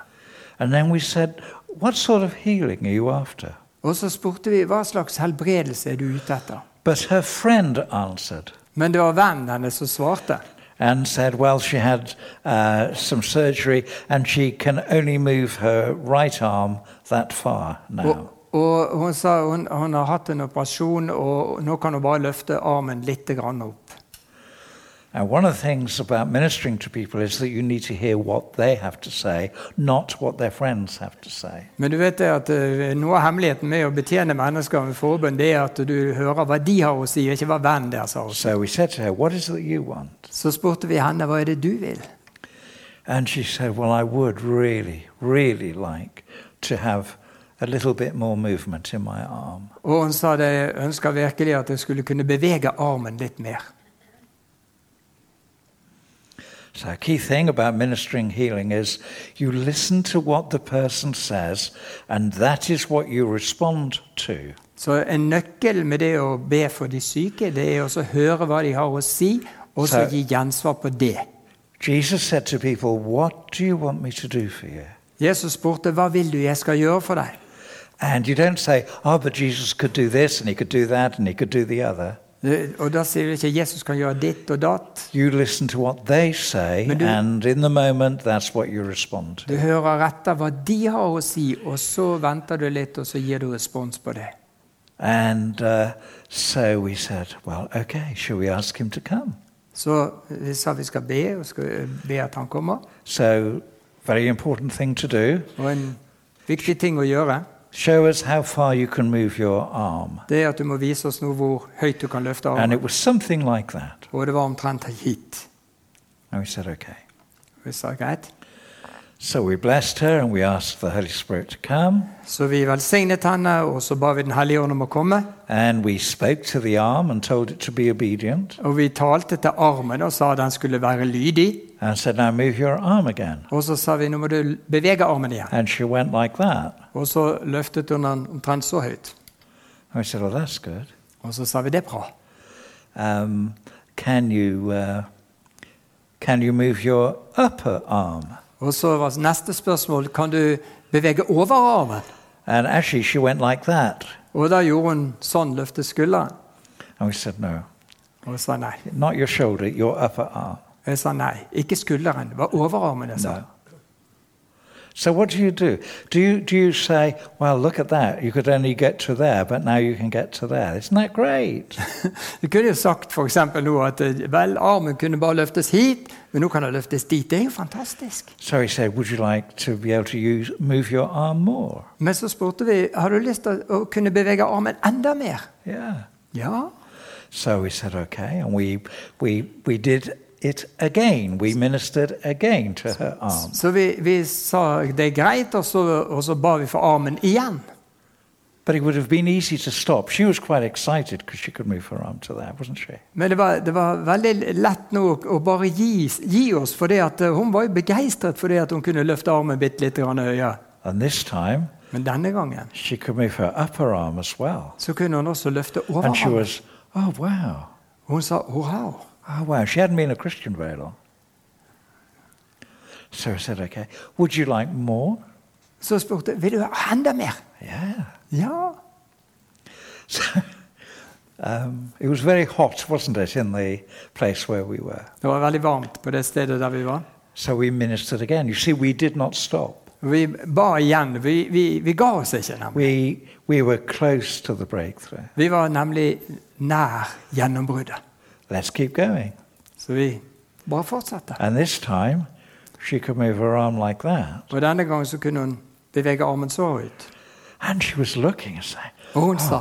And then we said, What sort of healing are you after?
Og så spurte vi hva slags helbredelse er du ute etter.
But her friend answered
Men det var vennen hennes som svarte.
and said, Well, she had uh, some surgery and she can only move her right arm that far
Og,
now.
og hun sa hun, hun har hatt en operasjon, og nå kan hun bare løfte armen litt grann opp.
And one of the things about ministering to people is that you need to hear what they have to say, not what their friends have to say.
Men du vet det at eh, noe av hemmeligheten med å betjene mennesker med forbønn, det er at du hører hva de har å si, og ikke hva vennen deres har å si.
So we said to her, What is it that you want?
Så spurte vi henne hva er det du vil.
And she said, Well, I would really, really like to have a little bit more movement in my arm.
Og hun sa det jeg ønsker virkelig at jeg skulle kunne bevege armen litt mer.
So, a key thing about ministering healing is you listen to what the person says, and that is what you respond to.
Så en nøkkel med det å be for de syke, det er også å høre hva de har å si, og så
Så-
gi gjensvar på det.
Jesus said to people, What do you want me to do for you?
Jesus spurte hva vil du jeg skal gjøre for deg.
And you don't say, Oh, but Jesus could do this, and he could do that, and he could do the other.
Eh, Og da sier du ikke Jesus kan gjøre ditt og datt.
You listen to what they say,
Men du-
and in the moment, that's what you respond to.
Du hører etter hva de har å si, og så venter du litt, og så gir du respons på det.
And uh, so we said, Well, okay, shall we ask him to come?
Så vi sa vi skal be, og skal be at han kommer.
So, very important thing to do.
Og en viktig ting å gjøre,
Show us how far you can move your arm.
det er at du må vise oss nå hvor høyt du kan løfte
And
armen.
it was something like that.
Og det var omtrent hit.
And we said, okay.
Vi sa greit.
So we blessed her and we asked the Holy Spirit to come.
Så vi velsignet henne, og så ba vi Den hellige ånd om å komme.
And we spoke to the arm and told it to be obedient.
Og vi talte til armen og sa den skulle være lydig.
And said, now move your arm again.
Og så sa vi nå må du bevege armen igjen.
And she went like that.
Og så løftet hun den omtrent så høyt.
And we said, well, that's good.
Og så sa vi det er bra.
Um, can, you, uh, can you move your upper arm?
Og så var neste spørsmål kan du bevege overarmen.
And actually, she went like that.
Og da gjorde hun sånn, løftet skulderen.
And we said, no,
Og sa nei.
not your shoulder, your upper arm.
Jeg sa nei. Ikke skulderen, det var overarmen jeg sa.
No. So what do you do? Do you do you say, "Well, look at that. You could only get to there, but now you can get to there. Isn't that great?"
Du kunne jo sagt for eksempel nå at eh, vel, armen kunne bare løftes hit, men nå kan den løftes dit. Det er jo fantastisk.
so he said, "Would you like to be able to use move your arm more?"
Men så spurte vi har du lyst til å kunne bevege armen enda mer.
Yeah.
Ja.
So we said, "Okay," and we we we did it again. We ministered again to her arm.
Så vi, vi sa det er greit, og så, og så ba vi for armen igjen.
But it would have been easy to stop. She was quite excited because she could move her arm to there, wasn't she?
Men det var, det var veldig lett nå å- å bare gi, gi oss, for det at eh, hun var jo begeistret for det at hun kunne løfte armen bitte litt grann høyere.
And this time,
Men denne gangen
she could move her upper arm as well.
så kunne hun også løfte
And she
overarmen.
was, "Oh, wow."
Hun sa wow.
Oh, wow. She hadn't been a Christian very long. So I said, okay, would you like more?
Så spurte jeg vil du ha enda mer.
Yeah.
Ja.
So um, it was very hot, wasn't it, in the place where we were?
Det var veldig varmt på det stedet der vi var.
So we ministered again. You see, we did not stop.
Vi ba igjen. Vi, vi, vi ga oss ikke, nemlig.
We, we were close to the breakthrough.
Vi var nemlig nær gjennombruddet.
Let's keep going.
Så vi bare fortsatte.
And this time, she could move her arm like that.
Og denne gangen så kunne hun bevege armen så ut.
And she was looking and saying,
Og hun sa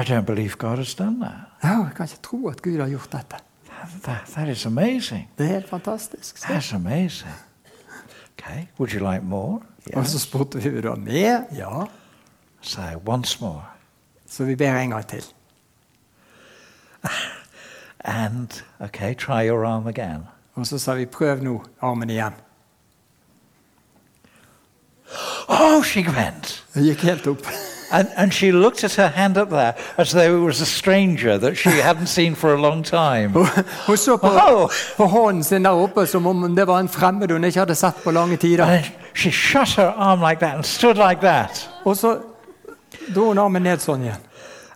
I don't believe God has done that.
«Å, jeg kan ikke tro at Gud har gjort dette.
That, that, that is amazing.
Det er helt fantastisk. Så.
That's amazing. Okay, would you like more?
Og så spurte vi vil du ha mer. Ja.
So once more.
Så vi ber en gang til.
And okay, try your arm again.
Og så sa vi prøv nå armen igjen.
Oh, she went.
Det gikk helt opp.
Oh, And, and she looked at her hand up there as though it was a stranger that she hadn't seen for a long time.
Hun, hun så på,
Wow.
på hånden sin der oppe som om det var en fremmed hun ikke hadde sett på lange tider.
And then she shut her arm like that and stood like that.
Og så dro hun armen ned sånn igjen.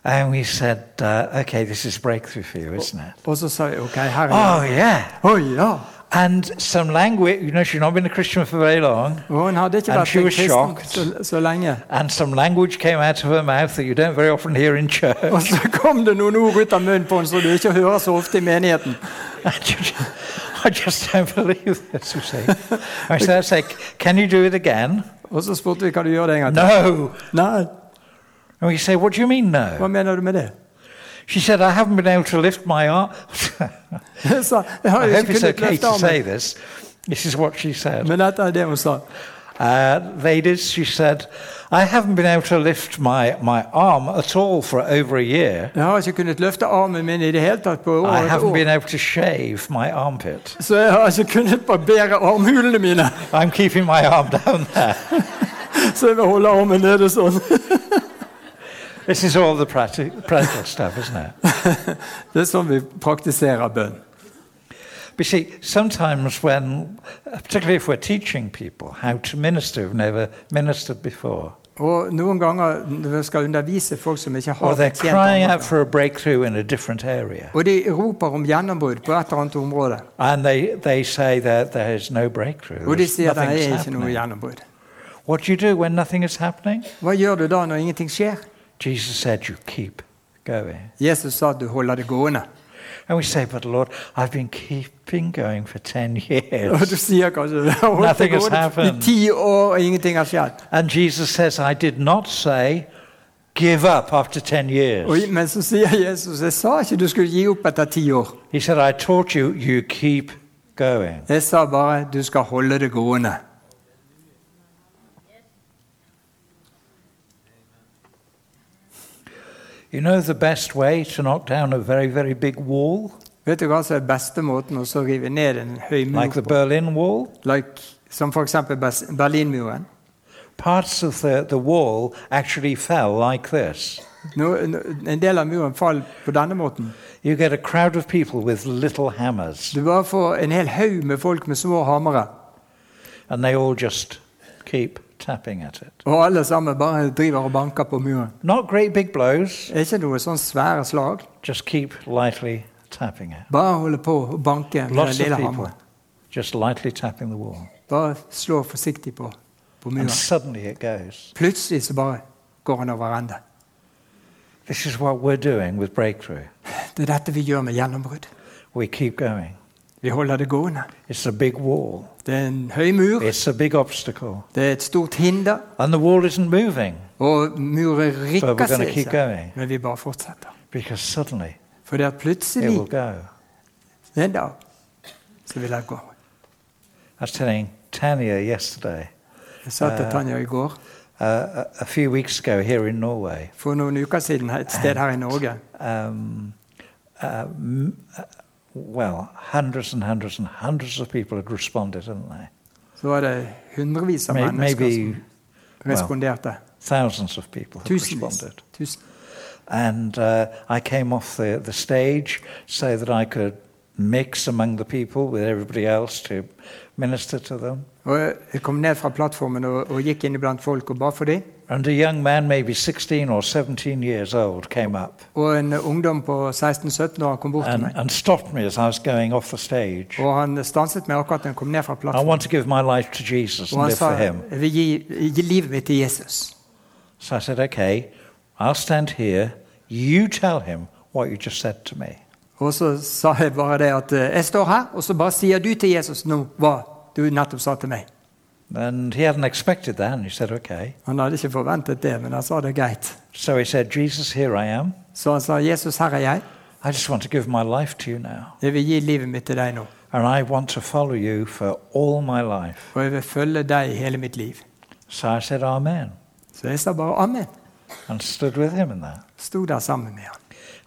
And we said, uh, okay, this is breakthrough for you, isn't it?
Og så sa jeg OK, her er jeg.
Oh, yeah.
Å ja!
And some language, you know, she'd not been a Christian for very long.
Og hun hadde ikke
And
vært
she
en
was
kristen
shocked.
så, så lenge.
And some language came out of her mouth that you don't very often hear in church.
Og så kom det noen ord ut av munnen på henne som du ikke hører så ofte i menigheten.
I just, I just don't believe this, you see. I said, I said, can you do it again?
Og så spurte vi kan du gjøre det en gang til.
No.
Nei,
And we say, what do you mean no?
hva mener du med det?
She said, I haven't been able to lift my arm.
Jeg sa, jeg har
I
jo
hope
ikke
it's
kunnet
okay
løfte
to say
armen.
this. This is what she said.
Men dette er det hun sa.
Uh, ladies, she said, I haven't been able to lift my, my arm at all for over a year.
Jeg har ikke kunnet løfte armen min i det hele tatt på
I
over et
haven't
år.
been able to shave my armpit.
Så jeg har ikke kunnet barbere armhulene mine.
I'm keeping my arm down there.
Så jeg vil holde armen nede sånn.
This is all the practi- practical stuff, isn't it?
Det er sånn vi praktiserer bønn.
But you see, sometimes when, particularly if we're teaching people how to minister who've never ministered before,
Og noen ganger når vi skal undervise folk som ikke
or
har
they're
betjent
crying
andre.
out for a breakthrough in a different area,
Og de roper om gjennombrudd på et eller annet område.
and they, they say that there is no breakthrough,
Og de
there's
sier det
nothing's
er ikke noe
happening.
gjennombrudd.
What do you do when nothing is happening?
Hva gjør du da når ingenting skjer?
Jesus said, You keep going.
Jesus sa at du holder det gående.
And we say, But Lord, I've been keeping going for 10
Og du
years.
sier kanskje du har holdt det
Nothing has
gående i
happened.
ti år, og ingenting har skjedd.
And Jesus says, I did not say, Give up after 10 years.
Og, men så sier Jesus jeg sa ikke du skulle gi opp etter ti år.
He said, I taught you, you keep going.
Jeg sa bare du skal holde det gående.
You know the best way to knock down a very, very big wall,
Vet du hva som er beste måten å så rive ned en høy mur
like the Berlin Wall?
Like, som for eksempel Bas- Berlinmuren.
Parts of the, the wall actually fell like this.
Nå, nå- en del av muren faller på denne måten.
You get a crowd of people with little hammers,
Du bare får en hel haug med folk med små hamre,
and they all just keep tapping at it.
og alle sammen bare driver og banker på muren.
Not great big blows,
Det er ikke noe sånn svære slag.
just keep lightly tapping it.
Bare holde på å banke med den
Lots of
lille
people
hammeren.
just lightly tapping the wall.
Bare slå forsiktig på, på
And
muren.
suddenly it goes.
Plutselig så bare går han over ende.
This is what we're doing with Breakthrough.
Det er dette vi gjør med gjennombrudd.
We keep going.
Vi holder det gående.
It's a big wall.
Det er en høy mur,
It's a big obstacle.
det er et stort hinder,
And the wall isn't moving
og
But
muren
we're
rikker
gonna
seg
keep
ikke.
going.
Men vi bare fortsetter.
because suddenly
For det er
it will
plutselig
go.
en dag så vil jeg gå.
I was telling Tanya yesterday,
Jeg sa
Eh.
til Tanja i går,
uh, a, a few weeks ago here in Norway,
for noen uker siden et sted her i Norge,
um, uh, m- uh, well, hundreds and hundreds and hundreds of people had responded, hadn't they?
så var det hundrevis av
May-
mennesker
Maybe
som responderte.
thousands of people had
Tusenvis.
responded.
Tusen.
And uh, I came off the, the stage so that I could mix among the people with everybody else to minister to them.
Og jeg kom ned fra plattformen og, og gikk inn iblant folk og ba for dem.
And a young man, maybe 16 or 17 years old, came up
Og en ungdom på 16-17 år kom bort til
and,
meg.
and stopped me as I was going off the stage.
Og han stanset meg akkurat da jeg kom ned fra
I
plattformen.
want to give my life to Jesus
Og
and
han
live
sa
for him.
jeg vil gi, gi livet mitt til Jesus.
So I said, okay, I'll stand here. You tell him what you just said to me.
Og så sa jeg bare det at eh, jeg står her, og så bare sier du til Jesus nå hva du nettopp sa til meg.
And he hadn't expected that, and he said, okay.
Han hadde ikke forventet det, men han sa det greit.
So he said, Jesus, here I am.
Så han sa, 'Jesus, her er jeg.
I just want to give my life to you now.
Jeg vil gi livet mitt til deg nå.
And I want to follow you for all my life.
Og jeg vil følge deg hele mitt liv.'
So I said, Amen,
Så jeg sa bare 'Amen'.
and stood with him in that.
Sto der sammen med han.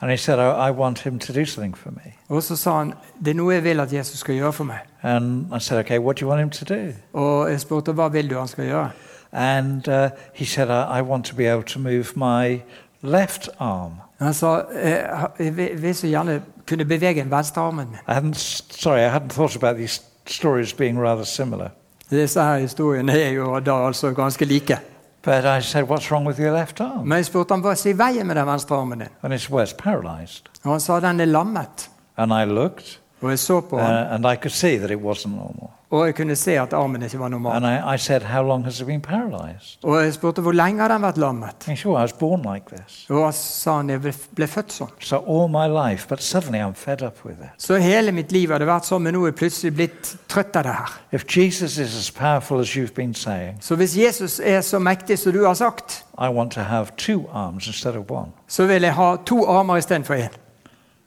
And he said, I, I want him to do something for me.
Og så sa han, 'Det er noe jeg vil at Jesus skal gjøre for meg.'
And I said, okay, what do you want him to do?
Og jeg spurte, 'Hva vil du han skal gjøre?'
And uh, he said, I, I want to be able to move my left arm.
Han sa eh, jeg vil vil så gjerne kunne bevege den venstre armen min.
I hadn't, sorry, I hadn't thought about these stories being rather similar.
Disse her historiene er jo da altså ganske like.
But I said, What's wrong with your left arm?
Men jeg spurte ham hva som er i veien med den venstre armen din.
And he said, Well, it's paralyzed.
Og han sa den er lammet.
And I looked,
Og jeg så på
uh,
ham,
and I could see that it wasn't normal.
og jeg kunne se at armen ikke var normal.
And I, I said, How long has it been paralyzed?
Og jeg spurte hvor lenge har den vært lammet.
And he said, Well, I was born like this.
Og han sa han jeg ble- ble født sånn.
So all my life, but suddenly I'm fed up with it.
Så hele mitt liv hadde vært sånn, men nå er jeg plutselig blitt trøtt av det her.
If Jesus is as powerful as you've been saying,
Så hvis Jesus er så mektig som du har sagt,
I want to have two arms instead of one.
så vil jeg ha to armer istedenfor én.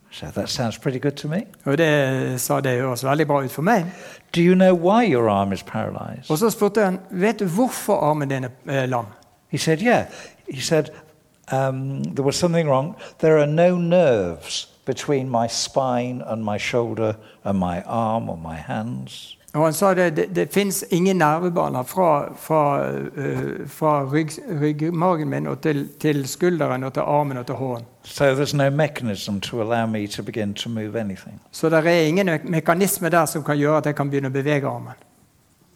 I said, That sounds pretty good to me.
Og det sa det høres veldig bra ut for meg.
Do you know why your arm is paralyzed?
Og så spurte han vet du hvorfor armen din er eh, lam.
He said, Yeah. He said, um, There was something wrong. There are no nerves between my spine and my shoulder and my arm or my hands.
Og han sa det, det, det fins ingen nervebaner fra, fra, eh, fra rygg, ryggmargen min og til, til skulderen og til armen og til hånden.
So there's no mechanism to allow me to begin to move anything.
Så det er ingen me- mekanisme der som kan gjøre at jeg kan begynne å bevege armen.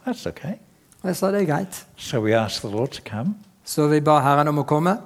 That's okay.
Og jeg sa det er greit.
So we asked the Lord to come,
Så vi ba Herren om å komme.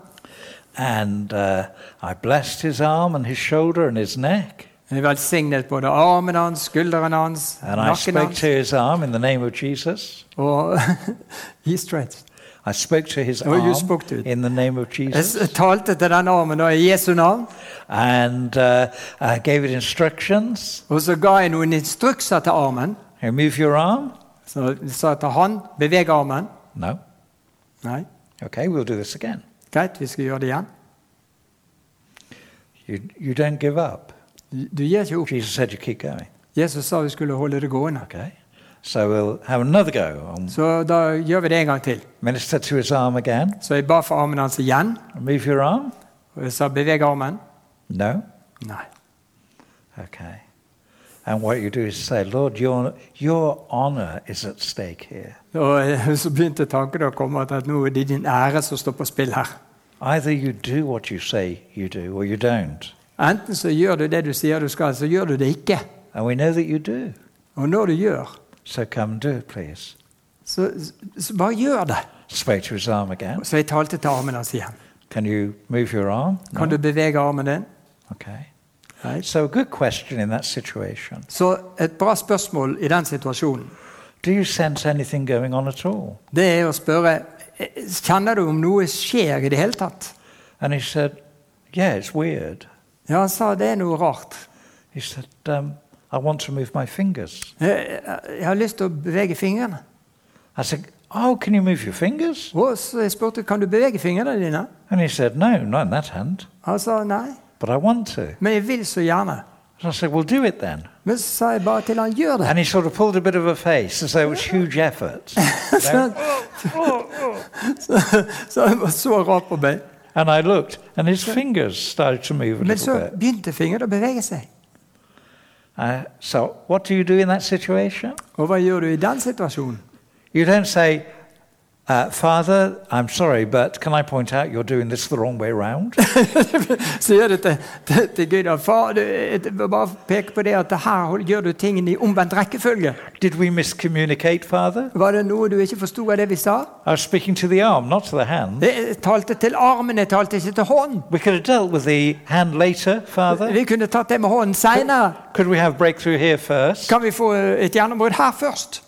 and uh, I blessed his arm and his shoulder and his neck.
Vi velsignet både armen hans, skulderen hans,
And I
nakken
spoke
hans.
to his arm in the name of Jesus.
Og he stretched.
I spoke to his
Oh, you
arm
spoke to it.
in the name of
Jeg
Jesus.
s- talte til den armen da i Jesu navn,
And uh, I gave it instructions.
og så ga jeg noen instrukser til armen.
Hey, move your arm?
Så jeg sa til han beveg armen.
No.
Nei,
Okay, we'll do this again.
greit, vi skal gjøre det igjen.
You, you don't give up.
Du gir ikke opp.
Jesus said you keep going.
Jesus sa vi skulle holde det gående.
Okay. So we'll have another go. And
Så da gjør vi det en gang til.
minister to his arm again.
Så jeg ba for armen hans igjen,
Move your arm?
og jeg sa beveg armen.
No.
Nei.
Okay. And what you do is say, Lord, your, your honor is at stake here.
Og eh, så begynte tankene å komme at at nå er det din ære som står på spill her.
Either you do what you say you do or you don't.
Enten så gjør du det du sier du skal, så gjør du det ikke.
And we know that you do.
Og når du gjør,
So come do it, please.
så, så bare gjør det.
Spoke to his arm again.
Så jeg talte til armen hans igjen.
Can you move your arm?
Kan du bevege armen din?
Okay.
Nei.
So, a good question in that situation.
Så et bra spørsmål i den situasjonen,
Do you sense anything going on at all?
det er å spørre eh, Kjenner du om noe skjer i det hele tatt?
And he said, Yeah, it's weird.
Ja, han sa det er noe rart.
He said, um, I want to move my fingers.
Jeg, Eh, jeg, jeg har lyst til å bevege fingrene.
I said, Oh, can you move your fingers?
Og så jeg spurte kan du bevege fingrene dine.
And he said, No, not in that hand,
Han sa nei,
but I want to. And
men jeg vil så gjerne.
I said, Well, do it then.
Men så sa jeg bare til han gjør det.
And he sort of pulled a bit of a face as though it was huge effort. You know?
Så, så han var så rar på meg.
and I looked, and his fingers started to move a
Men
little
så
bit.
begynte fingrene å bevege seg.
Uh, so, what do you do in that situation?
Og hva gjør du i den situasjonen?
You don't say, uh, Father, I'm sorry, but can I point out you're doing this the wrong way round?
Sier du til, til, til Gud at far, du, jeg vil bare peke på det at her hold- gjør du tingene i omvendt rekkefølge.
Did we miscommunicate, Father?
Var det noe du ikke forsto av det vi sa?
I was speaking to the arm, not to the hand.
Jeg jeg talte til armen, jeg talte ikke til hånden.
We could have dealt with the hand later, Father.
Vi kunne tatt det med hånden seinere.
Could we have breakthrough here first?
Kan vi få eh, et gjennombrudd her først?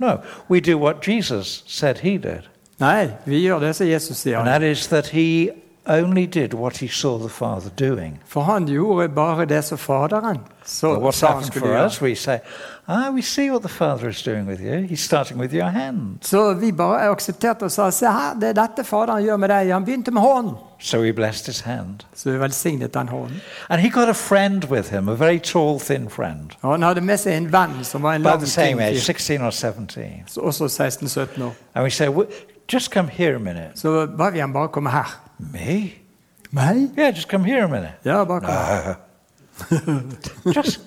No, we do what Jesus said he did,
Nei, vi gjør det som Jesus sier.
and that is that he only did what he saw the Father doing.
For han gjorde bare det som Faderen så,
But what's
sa han
happened
skulle
for
gjøre.
us? We say, Ah, we see what the Father is doing with you. He's starting with your hand.
Så vi bare aksepterte og sa se her, det er dette Faderen gjør med deg. Han begynte med hånden.
So we blessed his hand.
Så vi velsignet den hånden.
And he got a friend with him, a very tall, thin friend,
Og han hadde med seg en venn som var en
about
lang
the same
tynn
age,
fyr.
16 or 17.
Så også 16-17 år.
And we said, "Well, just come here a minute.
Så ba vi han bare komme her.
Me?
Meg?
Yeah, just come here a minute.
Ja, bare kom.
Just,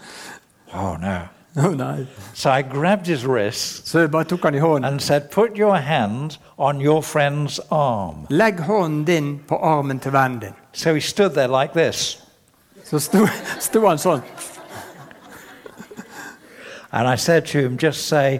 oh no.
Å, nei.
So I grabbed his wrist
Så jeg bare tok han i hånden.
and said, Put your hand on your friend's arm.
Legg hånden din på armen til vennen din.
So he stood there like this.
Så sto, sto han sånn.
And I said to him, Just say,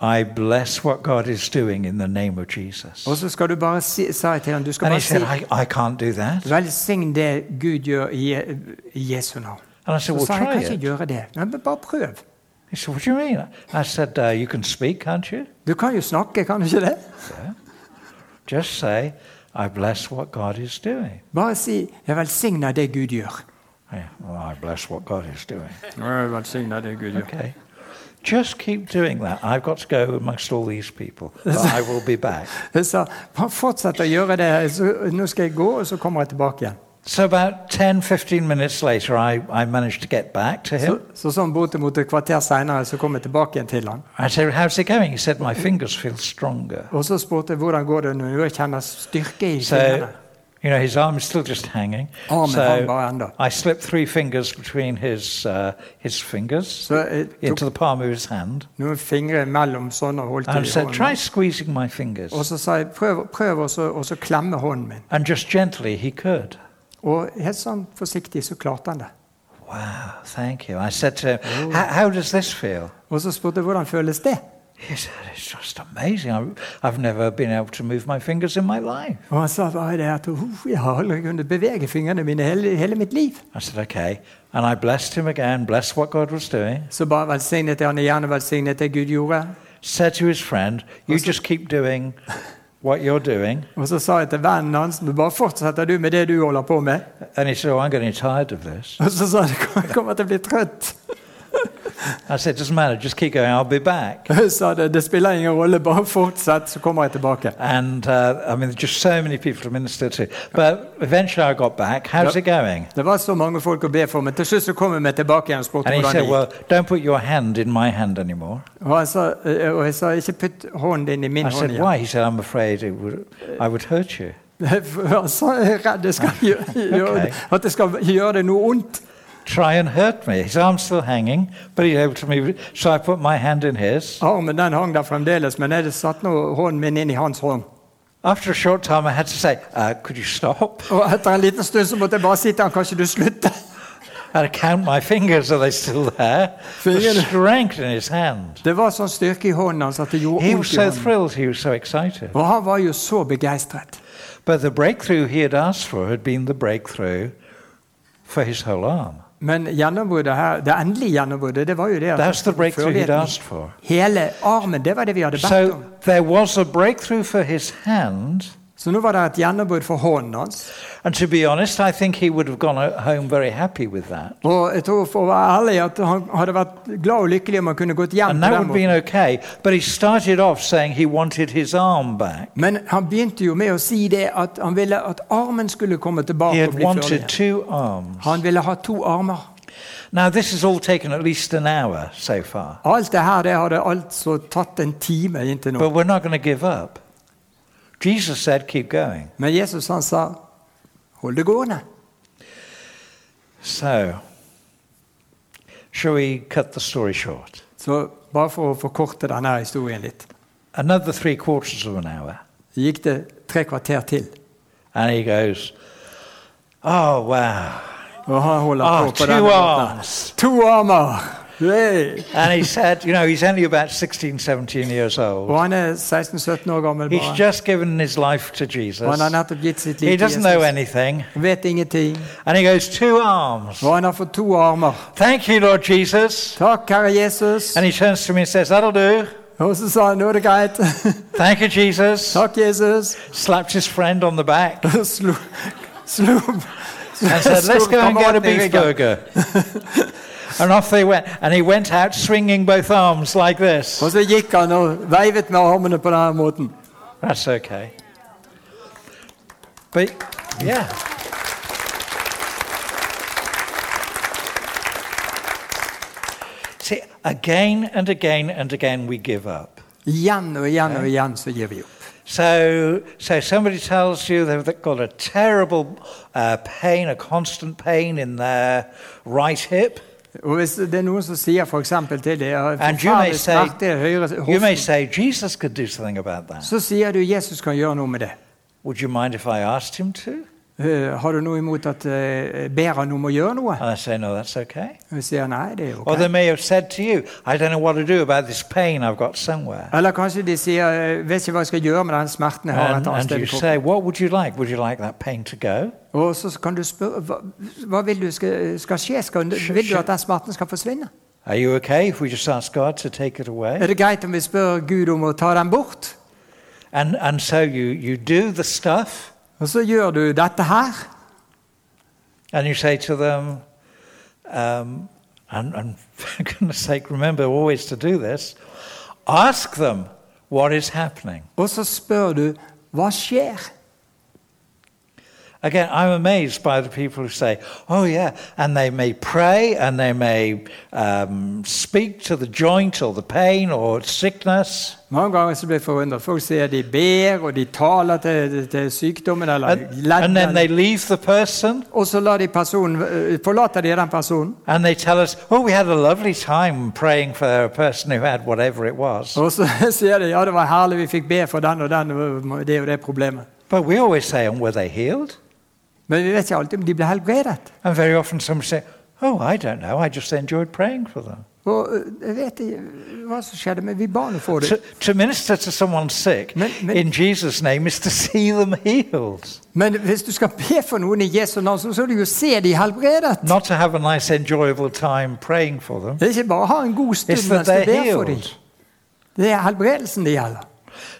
I bless what God is doing in the name of Jesus.
Og så skal du bare si, sa jeg til ham du skal
And he
bare si
said, I, I can't do that.
Velsign det Gud gjør i Je- i Jesu navn.
And I said,
Så
Well,
sa jeg
try
kan ikke
it.
gjøre det. Nei, men bare prøv.
He said, What do you mean? I said, uh, You can speak, can't you?
Du kan jo snakke, kan du ikke det?
Just say, I bless what God is doing.
Bare si 'Jeg velsigner det Gud gjør'.
Yeah, well, I bless what God is doing.
Jeg velsigner det Gud gjør.
Okay. Just keep doing that. I've got to go amongst all these people, but I will be back.
Jeg sa bare fortsett å gjøre det. Så, nå skal jeg gå, og så kommer jeg tilbake igjen.
So, about 10, 15 minutes later, I, I managed to get back to
Så,
him.
så sånn bortimot et kvarter seinere så kom jeg tilbake igjen til han.
I said, How's it going? He said, My fingers feel stronger.
Og så spurte jeg hvordan går det når jeg kjenner styrke i fingrene.
So, you know, his arm is still just hanging.
Armen hang
So,
bare ennå.
I slipped three fingers between his, uh, his fingers
Så jeg tok
into the palm of his hand
noen fingre mellom sånn og holdt i
and said, Try
hånden.
squeezing my fingers.
Og så sa jeg prøv, prøv også, også klemme hånden min.
And just gently, he could.
Og helt sånn forsiktig så klarte han det.
Wow, thank you. I said to him, "How- How does this feel?
Og så spurte jeg hvordan føles det?
He said, It's just amazing. I- I've never been able to move my fingers in my life.
Og han sa bare det at «Uff, jeg har aldri kunnet bevege fingrene mine hele, hele mitt liv.
I said, Okay. And I blessed him again, blessed what God was doing.
Så bare velsignet jeg han igjen og velsignet det Gud gjorde.
Said to his friend, You just keep doing what you're doing.
Og så sa jeg til vennen hans «Men bare fortsetter du med det du holder på med.
And he said, Oh, I'm getting tired of this.
Og så sa han jeg kommer til å bli trøtt.
I said, Doesn't matter. Just keep going. I'll be back.
Jeg sa det, det spiller ingen rolle, bare fortsett, så kommer jeg tilbake.
And uh, I mean, just so many people to minister to. But eventually I got back. How's
Yep.
it going?
Det var så mange folk å be for, men til slutt så kom jeg meg tilbake igjen og spurte
And he
hvordan det
said,
gikk.
Well, don't put your hand in my hand anymore.
Og, han sa, eh, og jeg sa ikke putt hånden din i min
I
hånd
said,
igjen.
Why? He said, I'm afraid it would, I would hurt you.
For Han sa jeg er redd jeg
Ah,
skal gjøre, gjøre det, at det skal gjøre det noe ondt.
try and hurt me. His arm's still hanging, but he able to move. it. So I put my hand in his.
Armen den hang der fremdeles, men jeg satt nå hånden min inn i hans hånd.
After a short time, I had to say, uh, "Could you stop?"
Og etter en liten stund så måtte jeg bare si til han, kan ikke du slutte?
I had to count my fingers. Are they still there?
Finger-
The strength in his hand.
Det var sånn styrke i hånden hans at det gjorde
He was
ondt i
so
hånden.
thrilled. He was so excited.
Og han var jo så begeistret.
But the breakthrough he had asked for had been the breakthrough for his whole arm.
Men gjennombruddet her, det endelige gjennombruddet, det var jo det at
That's the breakthrough he'd
førligheten-
asked for.
Hele armen, det var det vi hadde bedt om.
So there was a breakthrough for his hand.
Så nå var det et gjennombrudd for hånden hans.
And to be honest, I think he would have gone o- home very happy with that.
Og jeg tror for å være ærlig at han hadde vært glad og lykkelig om han kunne gått hjem
And
på
that
den
would have been
måten.
okay. But he started off saying he wanted his arm back.
Men han begynte jo med å si det at han ville at armen skulle komme
He
tilbake og
had
bli førlig.
wanted two arms.
Han ville ha to armer.
Now, this has all taken at least an hour so far.
Alt det her det hadde altså tatt en time inntil nå.
But we're not going to give up. Jesus said, keep going.
Men Jesus han sa hold det gående.
So, shall we cut the story short?
Så bare for å forkorte denne her historien litt,
Another three quarters of an hour.
gikk det tre kvarter til.
And he goes, Oh, wow.
Og han holder
Ah,
på på
two
denne måten.
arms.
To armer! Yay!
And he said, You know, he's only about 16, 17 years old.
Og han er 16-17 år gammel
He's
bare.
just given his life to
Og han har
Jesus.
nettopp gitt sitt liv
He
til
doesn't know
Jesus.
anything.
Han vet ingenting.
And he goes, Two arms.
Og han har fått to armer.
Thank you, Lord Jesus.
Takk, Herre Jesus.
And he turns to me and says, That'll do.
Og så sa han nå er det greit.
Thank you, Jesus.
Takk, Jesus.
Slapped his friend on the back
Og slo Slo
and said, Let's go and get a beef burger. and off they went. And he went out swinging both arms like this.
Og så gikk han og veivet med armene på denne måten.
That's okay. But yeah. See, again and again and again we give up.
Igjen og igjen og igjen så gir vi opp.
So, so somebody tells you they've they've got a terrible uh, pain, a constant pain in their right hip.
Og hvis det er noen som sier for eksempel til deg «Jeg har
And you may
forferdelig
say-
smerte i høyre
You may
hofte,
say, Jesus could do something about that.
så sier du Jesus kan gjøre noe med det.
Would you mind if I asked him to?
Eh, Har du noe imot at eh, ber han om å gjøre noe?
And I say, no, that's okay.
Og jeg sier nei, det er
Or
ok.
they may have said to you, I don't know what to do about this pain I've got somewhere.
Eller kanskje de sier eh, vet ikke hva jeg skal gjøre med den smerten jeg har
And,
et
and
annet sted
you
Oh, i kroppen.
say, what would you like? Would you like that pain to go?
Og så kan du spørre hva, hva vil du skal, skal skje? Skal,
Skj-
vil du
skj-
at den smerten skal forsvinne?
Are you okay if we just ask God to take it away?
Er det greit om vi spør Gud om å ta den bort?
And, and so you, you do the stuff
Og så gjør du dette her.
and you say to them, um, and, and for goodness sake, remember always to do this, ask them what is happening.
Og så spør du hva skjer?
Again, I'm amazed by the people who say, oh, yeah, and they may pray and they may um, speak to the joint or the pain or sickness.
Mange ganger så blir jeg forundret. Folk sier de ber, og de taler til, til sykdommen eller
And, and then they
leddet.
leave the person
Og så lar de personen, eh, forlater de den personen.
and they tell us, oh, we had a lovely time praying for a person who had whatever it was.
Og så sier de ja, det var herlig, vi fikk be for den og den, og det og det problemet.
But we always say, and were they healed?
Men vi vet ikke alltid om de ble helbredet.
And very often someone say, oh, I don't know, I just enjoyed praying for them.
Og eh, jeg vet ikke hva som skjedde, men vi ba nå for det.
To, to minister to someone sick
Men- men-
in Jesus' name is to see them healed,
Men hvis du skal be for noen i Jesu navn, så skal du jo se de helbredet.
not to have a nice, enjoyable time praying for them.
Det er ikke bare å ha en god stund
It's that
mens du
they're
ber for dem.
healed.
Det er helbredelsen det gjelder.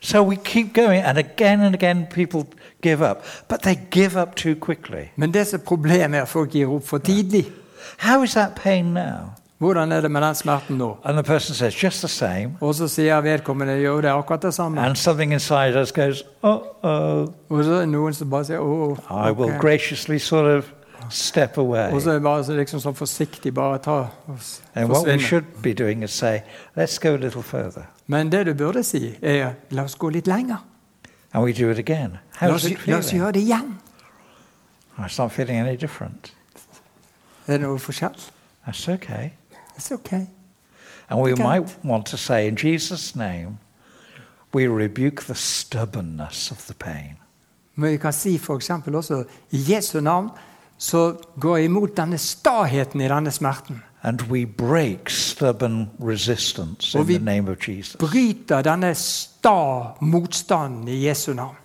So we keep going, and again and again people give up, but they give up too quickly.
Men det som er problemet, er at folk gir opp for tidlig.
How is that pain now?
Hvordan er det med den smerten nå?
And the person says, just the same.
Og så sier vedkommende jo, det er akkurat det samme.
And something inside us goes, uh oh,
Og så er det noen som bare sier å,
I will
ok.
graciously sort of step away.
Og så er det bare så liksom sånn forsiktig, bare ta og s-
And what we
forsvinne.
should be doing is say, let's go a little further.
Men det du burde si, er la oss gå litt lenger.
And we do it again. How
La
does
oss,
it
la
feel?
oss gjøre det igjen.
Oh, it's not feeling any different.
Er det noe forskjell?
That's okay.
It's okay.
And we
Okay.
might want to say, in Jesus' name, we rebuke the stubbornness of the pain.
Men vi kan si f.eks. også i Jesu navn så går jeg imot denne staheten i denne smerten.
And we break stubborn resistance
Well,
in the
we-
name of Jesus.
Bryter denne sta motstanden i Jesu navn.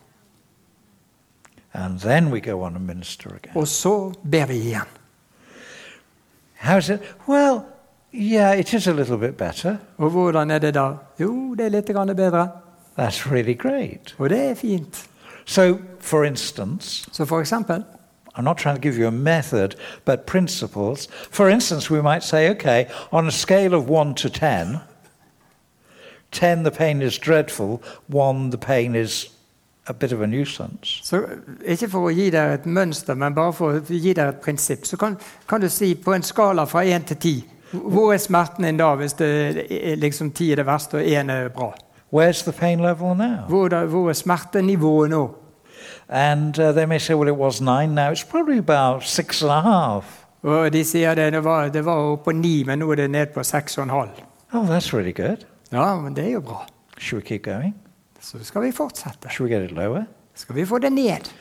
And then we go on and minister again.
Og så ber vi igjen.
How's it? Well, yeah, it is a little bit better.
Og hvordan er det da? Jo, det er litt grann bedre.
That's really great.
Og det er fint.
So, for instance,
Så for eksempel
I'm not trying to give you a method, but principles. For instance, we might say, okay, on a scale of 1 to 10, 10 the pain is dreadful, 1 the pain is a bit of a nuisance.
så, Ikke for å gi dere et mønster, men bare for å gi dere et prinsipp. Så kan, kan du si på en skala fra én til ti Hvor er smerten din da, hvis det er liksom ti er det verste og én er bra?
Where's the pain level now?
Hvor, da, hvor er smertenivået nå?
And uh, they may say, well, it was 9, now it's probably about six and a half.
Og de sier det, det var, det var oppe på ni, men nå er det ned på seks og en halv.
Oh, that's really good.
Ja, men det er jo bra.
Should we keep going?
Så skal vi fortsette.
Should we get it lower?
Skal vi få det ned?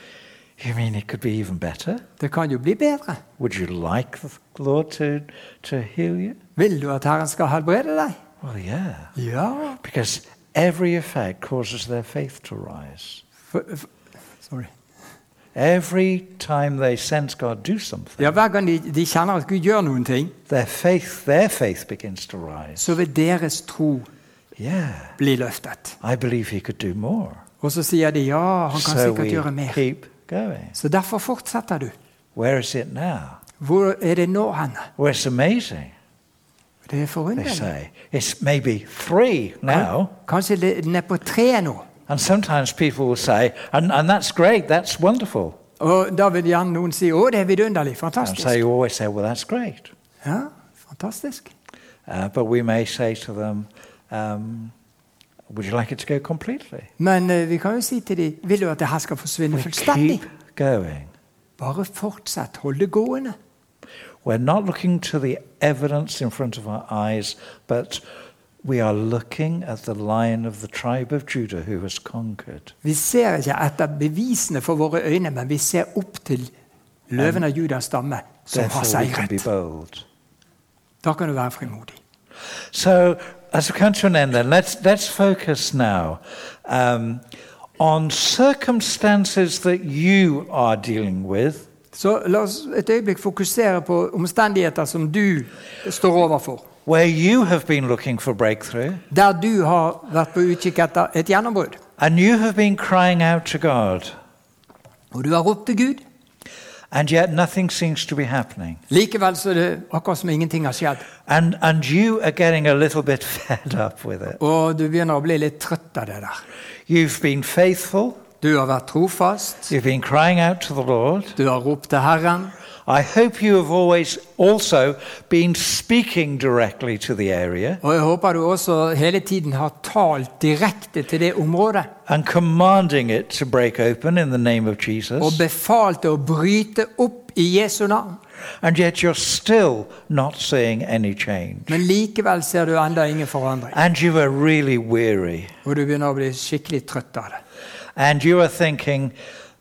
You mean it could be even better?
Det kan jo bli bedre.
Would you like the Lord to, to heal you?
Vil du at Herren skal helbrede deg?
Well, yeah.
Ja.
Because every effect causes their faith to rise.
For, for, sorry.
Every time they sense God do something,
Ja, Hver gang de, de kjenner at Gud gjør noen ting,
their faith their faith begins to rise.
så vil deres tro
Yeah.
bli løftet.
I believe he could do more.
Og så sier de ja, han kan
So
sikkert
we
gjøre mer.
keep going.
Så derfor fortsetter du.
Where is it now?
Hvor er det nå hen?
Well, it's amazing,
Det er
they
forunderlig.
say. It's maybe three now.
Kanskje det- den er på tre nå.
And sometimes people will say, and, and that's great, that's wonderful.
Og da vil gjerne noen si 'Å, det er vidunderlig.
And so
Fantastisk'.
you always say, well, that's great.
Ja, fantastisk.
Uh, but we may say to them, um, would you like it to go completely?
Men eh, vi kan jo si til dem 'Vil du at det her skal forsvinne
We
fullstendig?'
keep going.
Bare fortsett. Hold det gående.
We're not looking to the evidence in front of our eyes, but we are looking at the lion of the tribe of Judah who has conquered.
Vi ser ikke etter bevisene for våre øyne, men vi ser opp til løven av Judas stamme, som har
Therefore, we can be
seiret.
bold.
Da kan du være frimodig.
So, as we come to an end, then let's let's focus now um, on circumstances that you are dealing with,
Så la oss et øyeblikk fokusere på omstendigheter som du står overfor.
where you have been looking for breakthrough,
Der du har vært på utkikk etter et gjennombrudd.
and you have been crying out to God,
Og du har ropt til Gud.
and yet nothing seems to be happening,
Likevel så er det akkurat som ingenting har skjedd.
and and you are getting a little bit fed up with it.
Og du begynner å bli litt trøtt av det der.
You've been faithful.
Du har vært trofast.
You've been crying out to the Lord.
Du har ropt til Herren.
I hope you have always also been speaking directly to the area.
Og jeg håper du også hele tiden har talt direkte til det området.
and commanding it to break open in the name of
Og
Jesus,
befalt det å bryte opp i Jesu navn.
and yet you're still not seeing any change.
Men likevel ser du enda ingen forandring.
And you are really weary,
Og du begynner å bli skikkelig trøtt av det.
and you are thinking,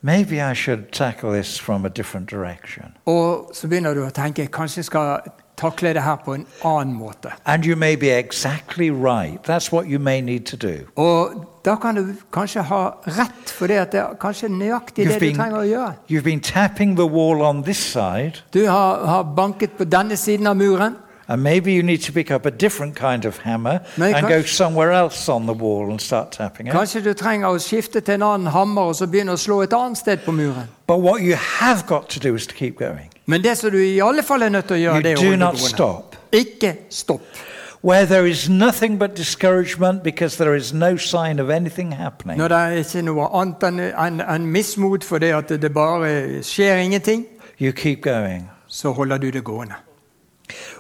maybe I should tackle this from a different direction.
Og så begynner du å tenke kanskje jeg skal takle det her på en annen måte.
And you may be exactly right. That's what you may need to do.
Og da kan du kanskje ha rett, for det at det er kanskje nøyaktig det
You've
du
been-
trenger å gjøre.
You've been tapping the wall on this side,
Du har, har banket på denne siden av muren.
and maybe you need to pick up a different kind of hammer
No, you
and
can't-
go somewhere else on the wall and start tapping it.
Kanskje du trenger å skifte til en annen hammer og så begynne å slå et annet sted på muren.
But what you have got to do is to keep going.
Men det som du i alle fall er nødt til å gjøre, det
You
er å
do
holde
not
det gående.
stop.
Ikke stopp.
where there is nothing but discouragement because there is no sign of anything happening.
Når det er ikke noe annet enn enn- enn mismot for det at det bare skjer ingenting,
You keep going.
så holder du det gående.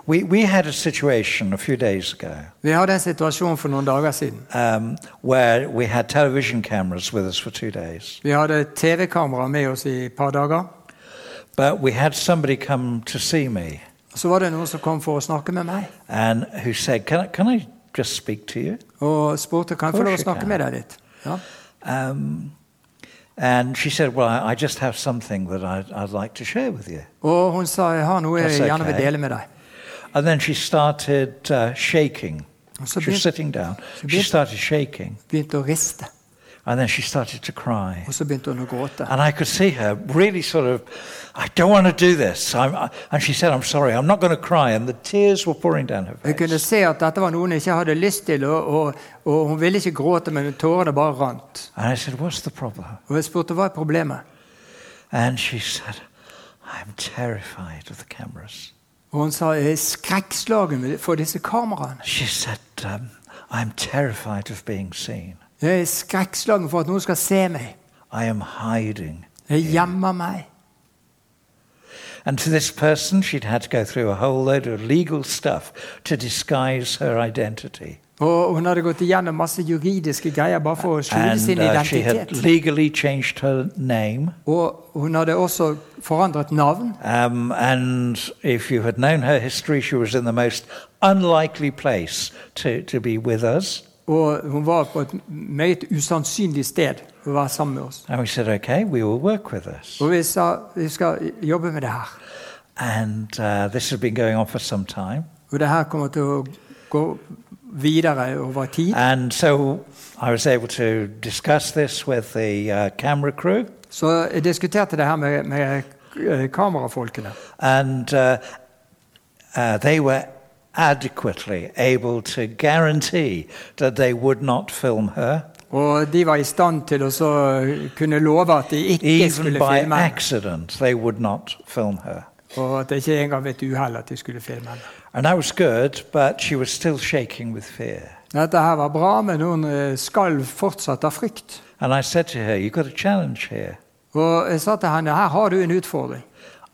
We, we had a situation a few days ago
Vi hadde en situasjon for noen dager siden.
um, where we had television cameras with us for two days,
Vi hadde et TV-kamera med oss i et par dager.
but we had somebody come to see me
Så var det noen som kom for å snakke med meg
and who said, Can I, can I just speak to you?
og spurte kan jeg få lov å snakke med deg litt. Ja.
Um, and she said, Well, I, I just have something that I'd, I'd like to share with you.
Og hun sa jeg har noe jeg
That's
gjerne vil
okay.
dele med deg.
And then she started uh, shaking.
Og så
She was
begynte,
sitting down. She
bit-
started shaking.
begynte å riste,
And then she started to cry.
og så begynte hun å gråte.
And I could see her really sort of, I don't want to do this. I'm, I, and she said, I'm sorry, I'm not going to cry. And the tears were pouring down her
Jeg kunne
face.
se at dette var noen jeg ikke hadde lyst til, og, og, og hun ville ikke gråte, men tårene bare rant.
And I said, What's the problem?
Og jeg spurte hva er problemet.
And she said, I'm terrified of the cameras.
Og hun sa jeg er skrekkslagen med- for disse kameraene.
She said, um, I'm terrified of being seen.
Jeg er skrekkslagen for at noen skal se meg.
I am hiding.
Jeg gjemmer meg.
And to this person, she'd had to go through a whole load of legal stuff to disguise her identity.
Og hun hadde gått igjennom masse juridiske greier bare for å skjule sin
And uh, she had
identitet.
legally changed her name.
Og hun hadde også forandret navn.
Um, and if you had known her history, she was in the most unlikely place to, to be with us.
Og hun var på et meget usannsynlig sted å være sammen med oss.
And we said, okay, we will work with us.
Og vi sa vi skal jobbe med det her.
And uh, this has been going on for some time.
Og det her kommer til å gå videre over tid.
And so I was able to discuss this with the uh, camera crew.
Så jeg diskuterte det her med, med eh, kamerafolkene.
And uh, uh, they were adequately able to guarantee that they would not film her,
Og de var i stand til å så kunne love at de ikke
even by
skulle filme. henne.
accident, they would not film her.
Og at det ikke engang ved et uhell at de skulle filme. henne.
And that was good, but she was still shaking with fear.
Dette her var bra, men hun eh, skalv fortsatt av frykt.
And I said to her, You've got a challenge here.
Og jeg sa til henne her har du en utfordring.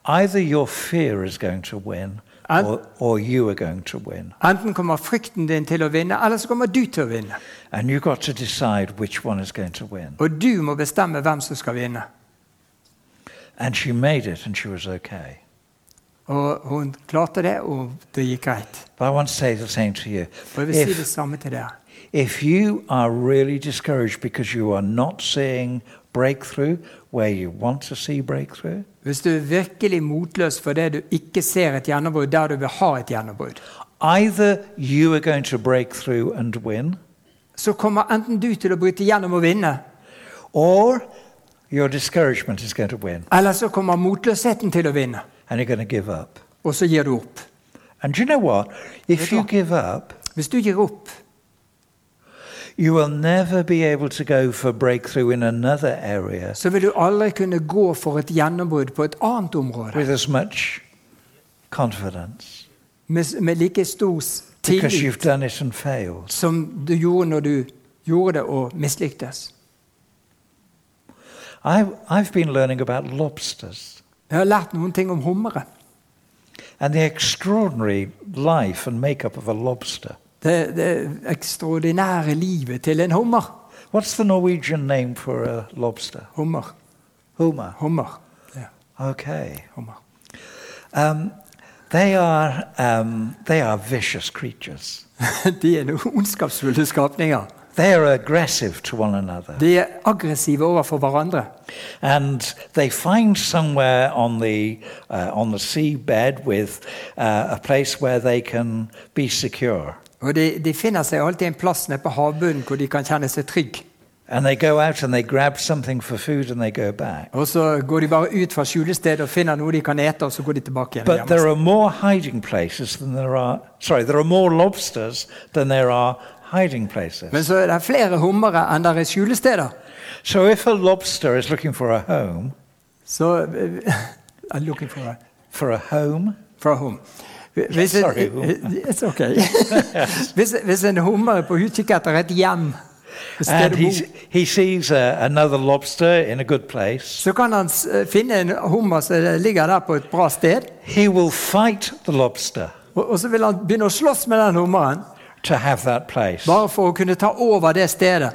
Either your fear is going to win,
And-
or, or you are going to win.
Enten kommer frykten din til å vinne, eller så kommer du til å vinne.
And you've got to decide which one is going to win.
Og du må bestemme hvem som skal vinne.
And she made it, and she was okay.
Og hun klarte det, og det gikk greit.
But I want to say the same to you.
Og jeg vil si det
If,
samme til dere.
if you are really discouraged because you are not seeing breakthrough where you want to see breakthrough,
Hvis du er virkelig motløs for det du ikke ser et gjennombrudd der du vil ha et gjennombrudd,
either you are going to break through and win,
så kommer enten du til å bryte gjennom og vinne,
or your discouragement is going to win
eller så kommer motløsheten til å vinne,
and you're going to give up.
og så gir du opp.
And do you know what? If
Yeah.
you give up,
Hvis du gir opp,
you will never be able to go for breakthrough in another area
så vil du aldri kunne gå for et gjennombrudd på et annet område
with as much confidence
med, med like stor s-
because
tillit
you've done it and failed.
som du gjorde når du gjorde det og mislyktes.
I, I've been learning about lobsters
Jeg har lært noen ting om hummere.
and the extraordinary life and makeup of a lobster.
Det, det ekstraordinære livet til en hummer.
What's the Norwegian name for a lobster?
Hummer.
Hummer.
Hummer. Ja,
Okay.
hummer.
Um, they, are, um, they are vicious creatures.
De er noen ondskapsfulle skapninger.
They are aggressive to one another.
De er aggressive overfor hverandre.
And they find somewhere on the, uh, on the seabed with uh, a place where they can be secure.
Og de, de finner seg alltid en plass nede på havbunnen hvor de kan kjenne seg trygg.
And they go out and they grab something for food and they go back.
Og så går de bare ut fra skjulestedet og finner noe de kan ete, og så går de tilbake igjen.
But
hjemme.
there are more hiding places than there are. Sorry, there are more lobsters than there are hiding places.
Men så er det flere hummere enn det er skjulesteder.
So if a lobster is looking for a home,
Så eh, I'm looking for a,
for a home,
for a home. Hvis, en-
Sorry, home.
It's okay. hvis, hvis en hummer er på utkikk etter et hjem, et sted
and
å bo,
he's, he sees uh, another lobster in a good place,
så kan han s- eh, finne en hummer som ligger der på et bra sted.
he will fight the lobster
Og, og så vil han begynne å slåss med den hummeren,
to have that place.
bare for å kunne ta over det stedet.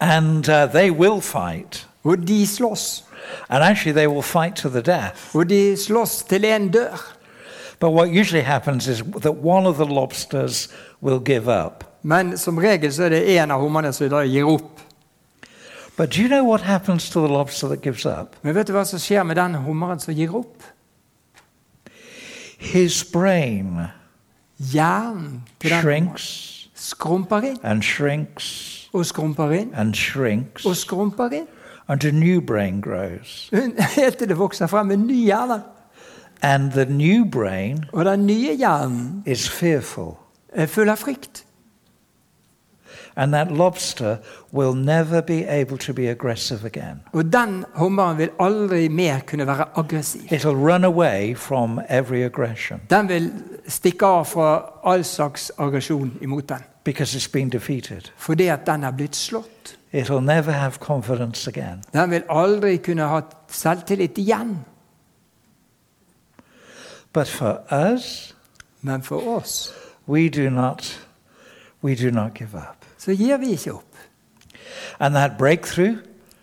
And uh, they will fight.
Og de slåss.
And actually, they will fight to the death.
Og de slåss til en dør.
But what usually happens is that one of the lobsters will give up.
Men som regel så er det én av hummerne som da gir opp.
But do you know what happens to the lobster that gives up?
Men vet du hva som skjer med den hummeren som gir opp?
His brain
Hjernen til den
shrinks
skrumper inn
and shrinks
og skrumper inn
and shrinks,
og skrumper inn.
and a new brain grows.
Helt til det vokser frem en ny hjerne.
And the new brain
Og den nye hjernen
is fearful.
er full av frykt.
And that lobster will never be able to be aggressive again.
Og den hummeren vil aldri mer kunne være aggressiv.
It'll run away from every aggression
Den vil stikke av fra all slags aggresjon imot den.
because it's been defeated.
Fordi at den er blitt slått.
It'll never have confidence again.
Den vil aldri kunne ha selvtillit igjen.
But for us,
Men for oss
we do not, we do not give up.
så gir vi ikke opp.
And that breakthrough,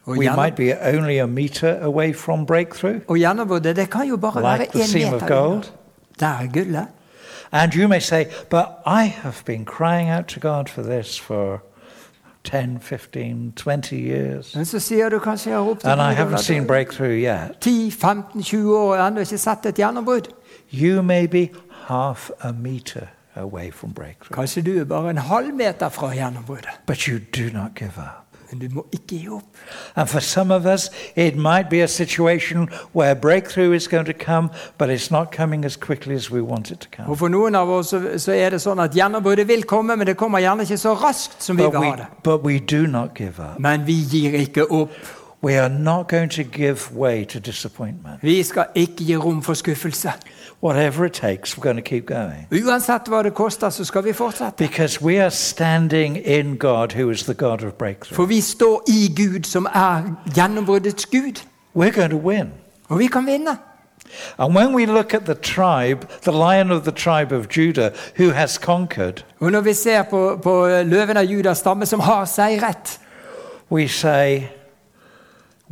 Well,
we
yeah,
might be only a meter away from breakthrough.
Og gjennombruddet, det kan jo bare være
Like the
én
seam of
meter. unna.
gold.
Der er gullet.
And you may say, but I have been crying out to God for this for 10, 15, 20 years,
Men så sier du kanskje jeg har opp til
and I
Gud,
haven't
eller-
seen breakthrough yet.
10-15-20 år og ennå ikke sett et gjennombrudd.
You may be half a meter away from breakthrough,
Kanskje du er bare en halv meter fra gjennombruddet.
but you do not give up.
Men du må ikke gi opp.
And for some of us, it might be a situation where breakthrough is going to come, but it's not coming as quickly as we want it to come.
Og for noen av oss så, så er det sånn at gjennombruddet vil komme, men det kommer gjerne ikke så raskt som vi
But
vil
we,
ha det.
but we do not give up.
Men vi gir ikke opp.
We are not going to give way to disappointment.
Vi skal ikke gi rom for skuffelse.
Whatever it takes, we're going to keep going.
Uansett hva det koster, så skal vi fortsette.
Because we are standing in God, who is the God of breakthrough.
For vi står i Gud, som er gjennombruddets Gud.
We're going to win.
Og vi kan vinne.
And when we look at the tribe, the lion of the tribe of Judah, who has conquered,
Og når vi ser på, på løven av Judas stamme, som har seiret,
we say,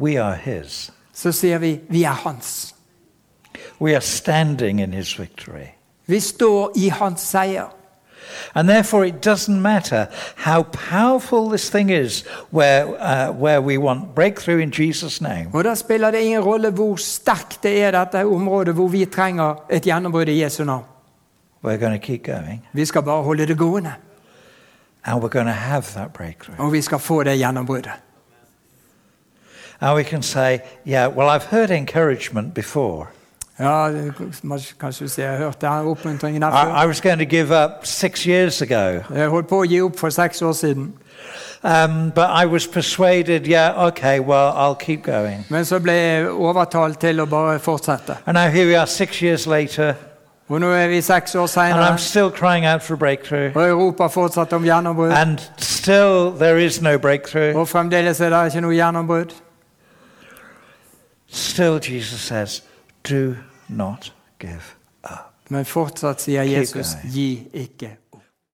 We are his.
så sier vi vi er hans.
We are standing in his victory.
Vi står i hans seier.
And therefore, it doesn't matter how powerful this thing is where, uh, where we want breakthrough in Jesus' name.
Og Da spiller det ingen rolle hvor sterkt det er, dette området hvor vi trenger et gjennombrudd i Jesu navn.
We're going to keep going
Vi skal bare holde det gående,
and we're going to have that breakthrough.
og vi skal få det gjennombruddet.
And we can say, yeah, well, I've heard encouragement before.
Ja, det- Kanskje du sier jeg har hørt den oppmuntringen her før.
I, I was going to give up six years ago,
Jeg holdt på å gi opp for seks år siden,
um, but I was persuaded, yeah, okay, well, I'll keep going.
men så ble jeg overtalt til å bare fortsette.
And now here we are six years later,
Og nå er vi seks år
and I'm
seinere,
still crying out for breakthrough,
og Europa fortsetter om gjennombrudd.
and still there is no breakthrough.
Og fremdeles er det ikke noe gjennombrudd.
Still, Jesus says, do not give up.
Men fortsatt sier Jesus 'gi ikke